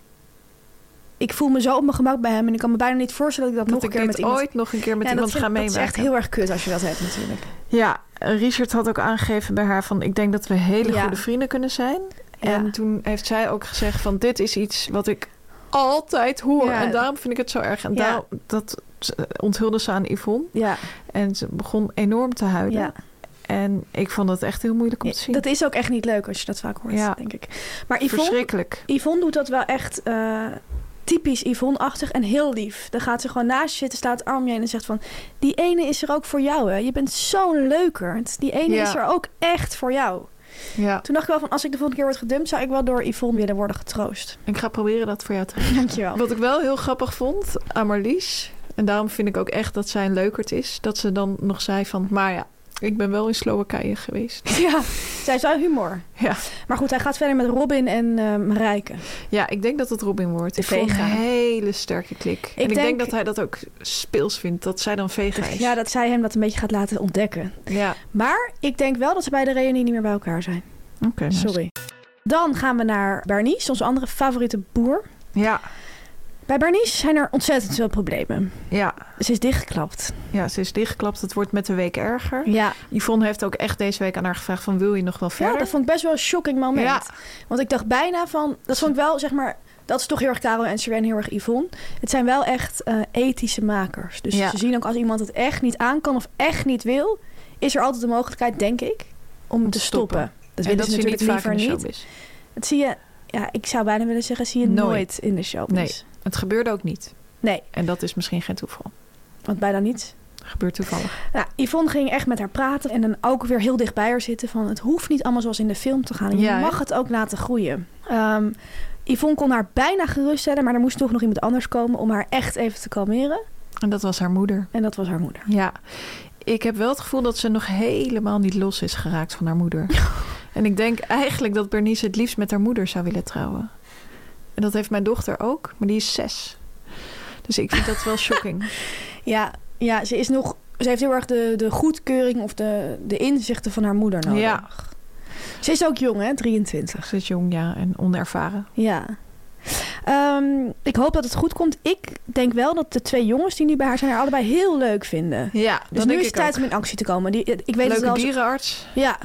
Speaker 2: ik voel me zo op mijn gemak bij hem en ik kan me bijna niet voorstellen dat ik dat,
Speaker 3: dat
Speaker 2: nog
Speaker 3: ik
Speaker 2: een keer
Speaker 3: dit
Speaker 2: met iemand...
Speaker 3: ooit nog een keer met
Speaker 2: Ja,
Speaker 3: iemand
Speaker 2: dat,
Speaker 3: ga
Speaker 2: vind-
Speaker 3: meemaken.
Speaker 2: Dat is echt heel erg kut als je dat hebt natuurlijk.
Speaker 3: Ja, Richard had ook aangegeven bij haar van... ik denk dat we hele
Speaker 2: Ja.
Speaker 3: goede vrienden kunnen zijn. En
Speaker 2: Ja.
Speaker 3: toen heeft zij ook gezegd van... dit is iets wat ik altijd hoor.
Speaker 2: Ja.
Speaker 3: En daarom vind ik het zo erg. En
Speaker 2: Ja.
Speaker 3: daarom- dat eh, onthulde ze aan Yvonne.
Speaker 2: Ja,
Speaker 3: En ze begon enorm te huilen.
Speaker 2: ja.
Speaker 3: En ik vond het echt heel moeilijk om te zien.
Speaker 2: eh, dat is ook echt niet leuk als je dat vaak hoort,
Speaker 3: Ja.
Speaker 2: denk ik. Maar Yvonne,
Speaker 3: Verschrikkelijk.
Speaker 2: Yvonne doet dat wel echt eh, typisch Yvonne-achtig en heel lief. Dan gaat ze gewoon naast je zitten, staat het armje heen en zegt van... die ene is er ook voor jou, hè. Je bent zo'n leukerd. Die ene
Speaker 3: Ja.
Speaker 2: is er ook echt voor jou.
Speaker 3: Ja.
Speaker 2: Toen dacht ik wel van, als ik de volgende keer word gedumpt... zou ik wel door Yvonne willen worden getroost.
Speaker 3: Ik ga proberen dat voor jou te
Speaker 2: Dankjewel.
Speaker 3: Wat ik wel heel grappig vond aan Marlies... en daarom vind ik ook echt dat zij een leukert is... dat ze dan nog zei van... maar ja, ik ben wel in Slowakije geweest.
Speaker 2: Ja, zij is wel humor.
Speaker 3: Ja.
Speaker 2: Maar goed, hij gaat verder met Robin en ehm Rijken.
Speaker 3: Ja, ik denk dat het Robin wordt.
Speaker 2: De
Speaker 3: ik vond
Speaker 2: vega.
Speaker 3: een hele sterke klik. en ik denk
Speaker 2: denk-
Speaker 3: dat hij dat ook speels vindt, dat zij dan vega is.
Speaker 2: Ja, dat zij hem dat een beetje gaat laten ontdekken.
Speaker 3: ja.
Speaker 2: Maar ik denk wel dat ze bij de reunie niet meer bij elkaar zijn.
Speaker 3: oké. nou,
Speaker 2: Sorry. Dan gaan we naar Bernice, onze andere favoriete boer.
Speaker 3: Ja,
Speaker 2: Bij Bernice zijn er ontzettend veel problemen.
Speaker 3: ja,
Speaker 2: Ze is dichtgeklapt.
Speaker 3: ja, ze is dichtgeklapt. Het wordt met de week erger.
Speaker 2: Ja,
Speaker 3: Yvonne heeft ook echt deze week aan haar gevraagd van... wil je nog wel
Speaker 2: ja
Speaker 3: verder?
Speaker 2: dat vond ik best wel een shocking moment.
Speaker 3: Ja.
Speaker 2: Want ik dacht bijna van... Dat vond ik wel, zeg maar... Dat is toch heel erg Karel en Serena, heel erg Yvonne. Het zijn wel echt eh, ethische makers. Dus
Speaker 3: Ja.
Speaker 2: ze zien ook als iemand het echt niet aan kan of echt niet wil... is er altijd de mogelijkheid, denk ik, om te
Speaker 3: stoppen.
Speaker 2: stoppen. Dat
Speaker 3: en
Speaker 2: willen
Speaker 3: dat
Speaker 2: ze
Speaker 3: zie je
Speaker 2: natuurlijk
Speaker 3: niet vaak in
Speaker 2: liever
Speaker 3: de
Speaker 2: niet.
Speaker 3: showbiz.
Speaker 2: Dat zie je... Ja, ik zou bijna willen zeggen, zie je nooit,
Speaker 3: Nooit.
Speaker 2: in de showbiz.
Speaker 3: Nee. Het gebeurde ook niet.
Speaker 2: Nee.
Speaker 3: En dat is misschien geen toeval.
Speaker 2: Want bijna niet.
Speaker 3: Gebeurt toevallig.
Speaker 2: Nou, Yvonne ging echt met haar praten en dan ook weer heel dicht bij haar zitten van het hoeft niet allemaal zoals in de film te gaan. Je
Speaker 3: Ja, hè?
Speaker 2: mag het ook laten groeien. Ehm, Yvonne kon haar bijna geruststellen, maar er moest toch nog iemand anders komen om haar echt even te kalmeren.
Speaker 3: En dat was haar moeder.
Speaker 2: En dat was haar moeder.
Speaker 3: Ja, ik heb wel het gevoel dat ze nog helemaal niet los is geraakt van haar moeder. en ik denk eigenlijk dat Bernice het liefst met haar moeder zou willen trouwen. En dat heeft mijn dochter ook, maar die is zes. Dus ik vind dat wel shocking.
Speaker 2: Ja, ja ze, is nog, ze heeft heel erg de, de goedkeuring of de, de inzichten van haar moeder nodig.
Speaker 3: ja,
Speaker 2: Ze is ook jong, hè? 23.
Speaker 3: ze is jong, ja, en onervaren.
Speaker 2: Ja. Ehm, ik hoop dat het goed komt. Ik denk wel dat de twee jongens die nu bij haar zijn, haar allebei heel leuk vinden.
Speaker 3: Ja,
Speaker 2: Dus nu is het tijd om in actie te komen. Die, eh, ik weet dat
Speaker 3: Leuke
Speaker 2: al is-
Speaker 3: dierenarts.
Speaker 2: Ja.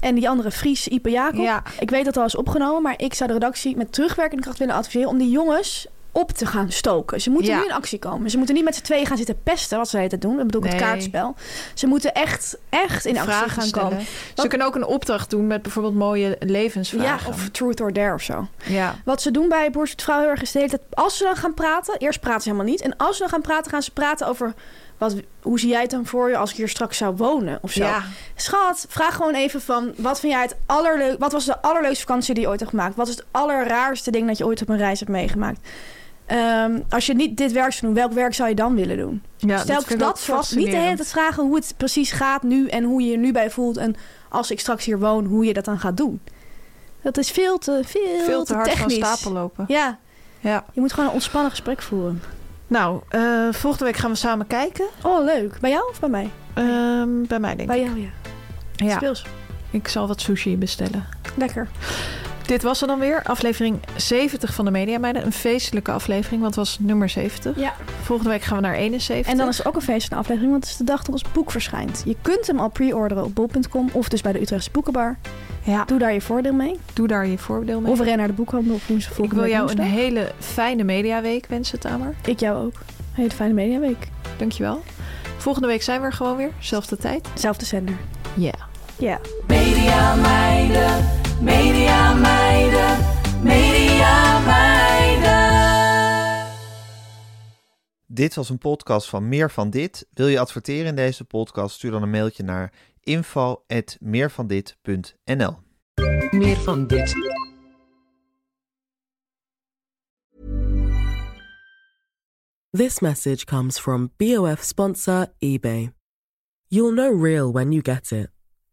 Speaker 2: En die andere Fries, Ipe Jacob.
Speaker 3: Ja,
Speaker 2: Ik weet dat al is opgenomen, maar ik zou de redactie met terugwerkende kracht willen adviseren om die jongens op te gaan stoken. Ze moeten
Speaker 3: Ja.
Speaker 2: nu in actie komen. Ze moeten niet met z'n tweeën gaan zitten pesten, wat ze de hele tijd doen. Dat bedoel ik het
Speaker 3: Nee.
Speaker 2: kaartspel. Ze moeten echt, echt in actie
Speaker 3: vragen
Speaker 2: gaan
Speaker 3: stellen.
Speaker 2: komen.
Speaker 3: Ze kunnen ook een opdracht doen met bijvoorbeeld mooie
Speaker 2: Ja,
Speaker 3: levensvragen.
Speaker 2: of truth or dare of zo.
Speaker 3: ja.
Speaker 2: Wat ze doen bij Boer Zoekt Vrouw heel erg is de hele tijd... als ze dan gaan praten, eerst praten ze helemaal niet... en als ze dan gaan praten, gaan ze praten over... Wat, hoe zie jij het dan voor je als ik hier straks zou wonen of zo.
Speaker 3: Ja.
Speaker 2: Schat, vraag gewoon even van... wat vind jij het allerleuk... wat was de allerleukste vakantie die je ooit hebt gemaakt? Wat is het allerraarste ding dat je ooit op een reis hebt meegemaakt? Ehm, als je niet dit werk zou doen, welk werk zou je dan willen doen?
Speaker 3: Ja,
Speaker 2: Stel
Speaker 3: vind ik
Speaker 2: dat,
Speaker 3: ook
Speaker 2: vast. Niet de hele
Speaker 3: fascinerend.
Speaker 2: tijd vragen hoe het precies gaat nu... en hoe je je nu bij je voelt. En als ik straks hier woon, hoe je dat dan gaat doen. Dat is veel te, veel
Speaker 3: Veel te hard
Speaker 2: technisch.
Speaker 3: van stapel lopen.
Speaker 2: Ja,
Speaker 3: Ja.
Speaker 2: je moet gewoon een ontspannen gesprek voeren.
Speaker 3: Nou, eh, volgende week gaan we samen kijken.
Speaker 2: Oh, leuk. Bij jou of bij mij?
Speaker 3: Ehm, bij mij denk ik.
Speaker 2: Bij jou, ja.
Speaker 3: Ja,
Speaker 2: Speels.
Speaker 3: ik zal wat sushi bestellen.
Speaker 2: Lekker.
Speaker 3: Dit was er dan weer, aflevering 70 van de Media Meiden. Een feestelijke aflevering, want het was nummer 70.
Speaker 2: Ja.
Speaker 3: Volgende week gaan we naar 71.
Speaker 2: En dan is het ook een feest van de aflevering, want het is de dag dat ons boek verschijnt. Je kunt hem al pre-orderen op bol.com of dus bij de Utrechtse Boekenbar.
Speaker 3: ja, doe,
Speaker 2: Doe daar je voordeel mee.
Speaker 3: doe daar je voordeel mee.
Speaker 2: Of ren naar de boekhandel of woensdag
Speaker 3: ik
Speaker 2: volgende
Speaker 3: wil
Speaker 2: week
Speaker 3: jou een
Speaker 2: woensdag.
Speaker 3: hele fijne mediaweek wensen, Tamer.
Speaker 2: Ik jou ook. Hele fijne mediaweek.
Speaker 3: Dankjewel. Volgende week zijn we er gewoon weer, zelfde tijd.
Speaker 2: Zelfde zender.
Speaker 3: Ja.
Speaker 2: Ja.
Speaker 4: Media meiden, media meiden, media meiden.
Speaker 5: Dit was een podcast van Meer van Dit. Wil je adverteren in deze podcast? Stuur dan een mailtje naar info.meervandit.nl
Speaker 6: Meer van dit. This message comes from BOF sponsor eBay. You'll know real when you get it.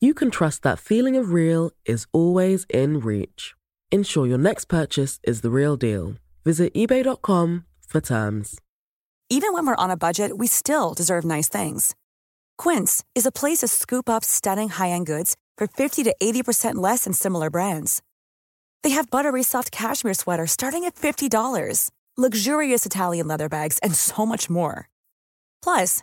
Speaker 6: you can trust that feeling of real is always in reach. Ensure your next purchase is the real deal. Visit eBay.com for terms.
Speaker 3: Even when we're on a budget, we still deserve nice things. Quince is a place to scoop up stunning high end goods for 50 to 80% less than similar brands. They have buttery soft cashmere sweaters starting at $50, luxurious Italian leather bags, and so much more. Plus,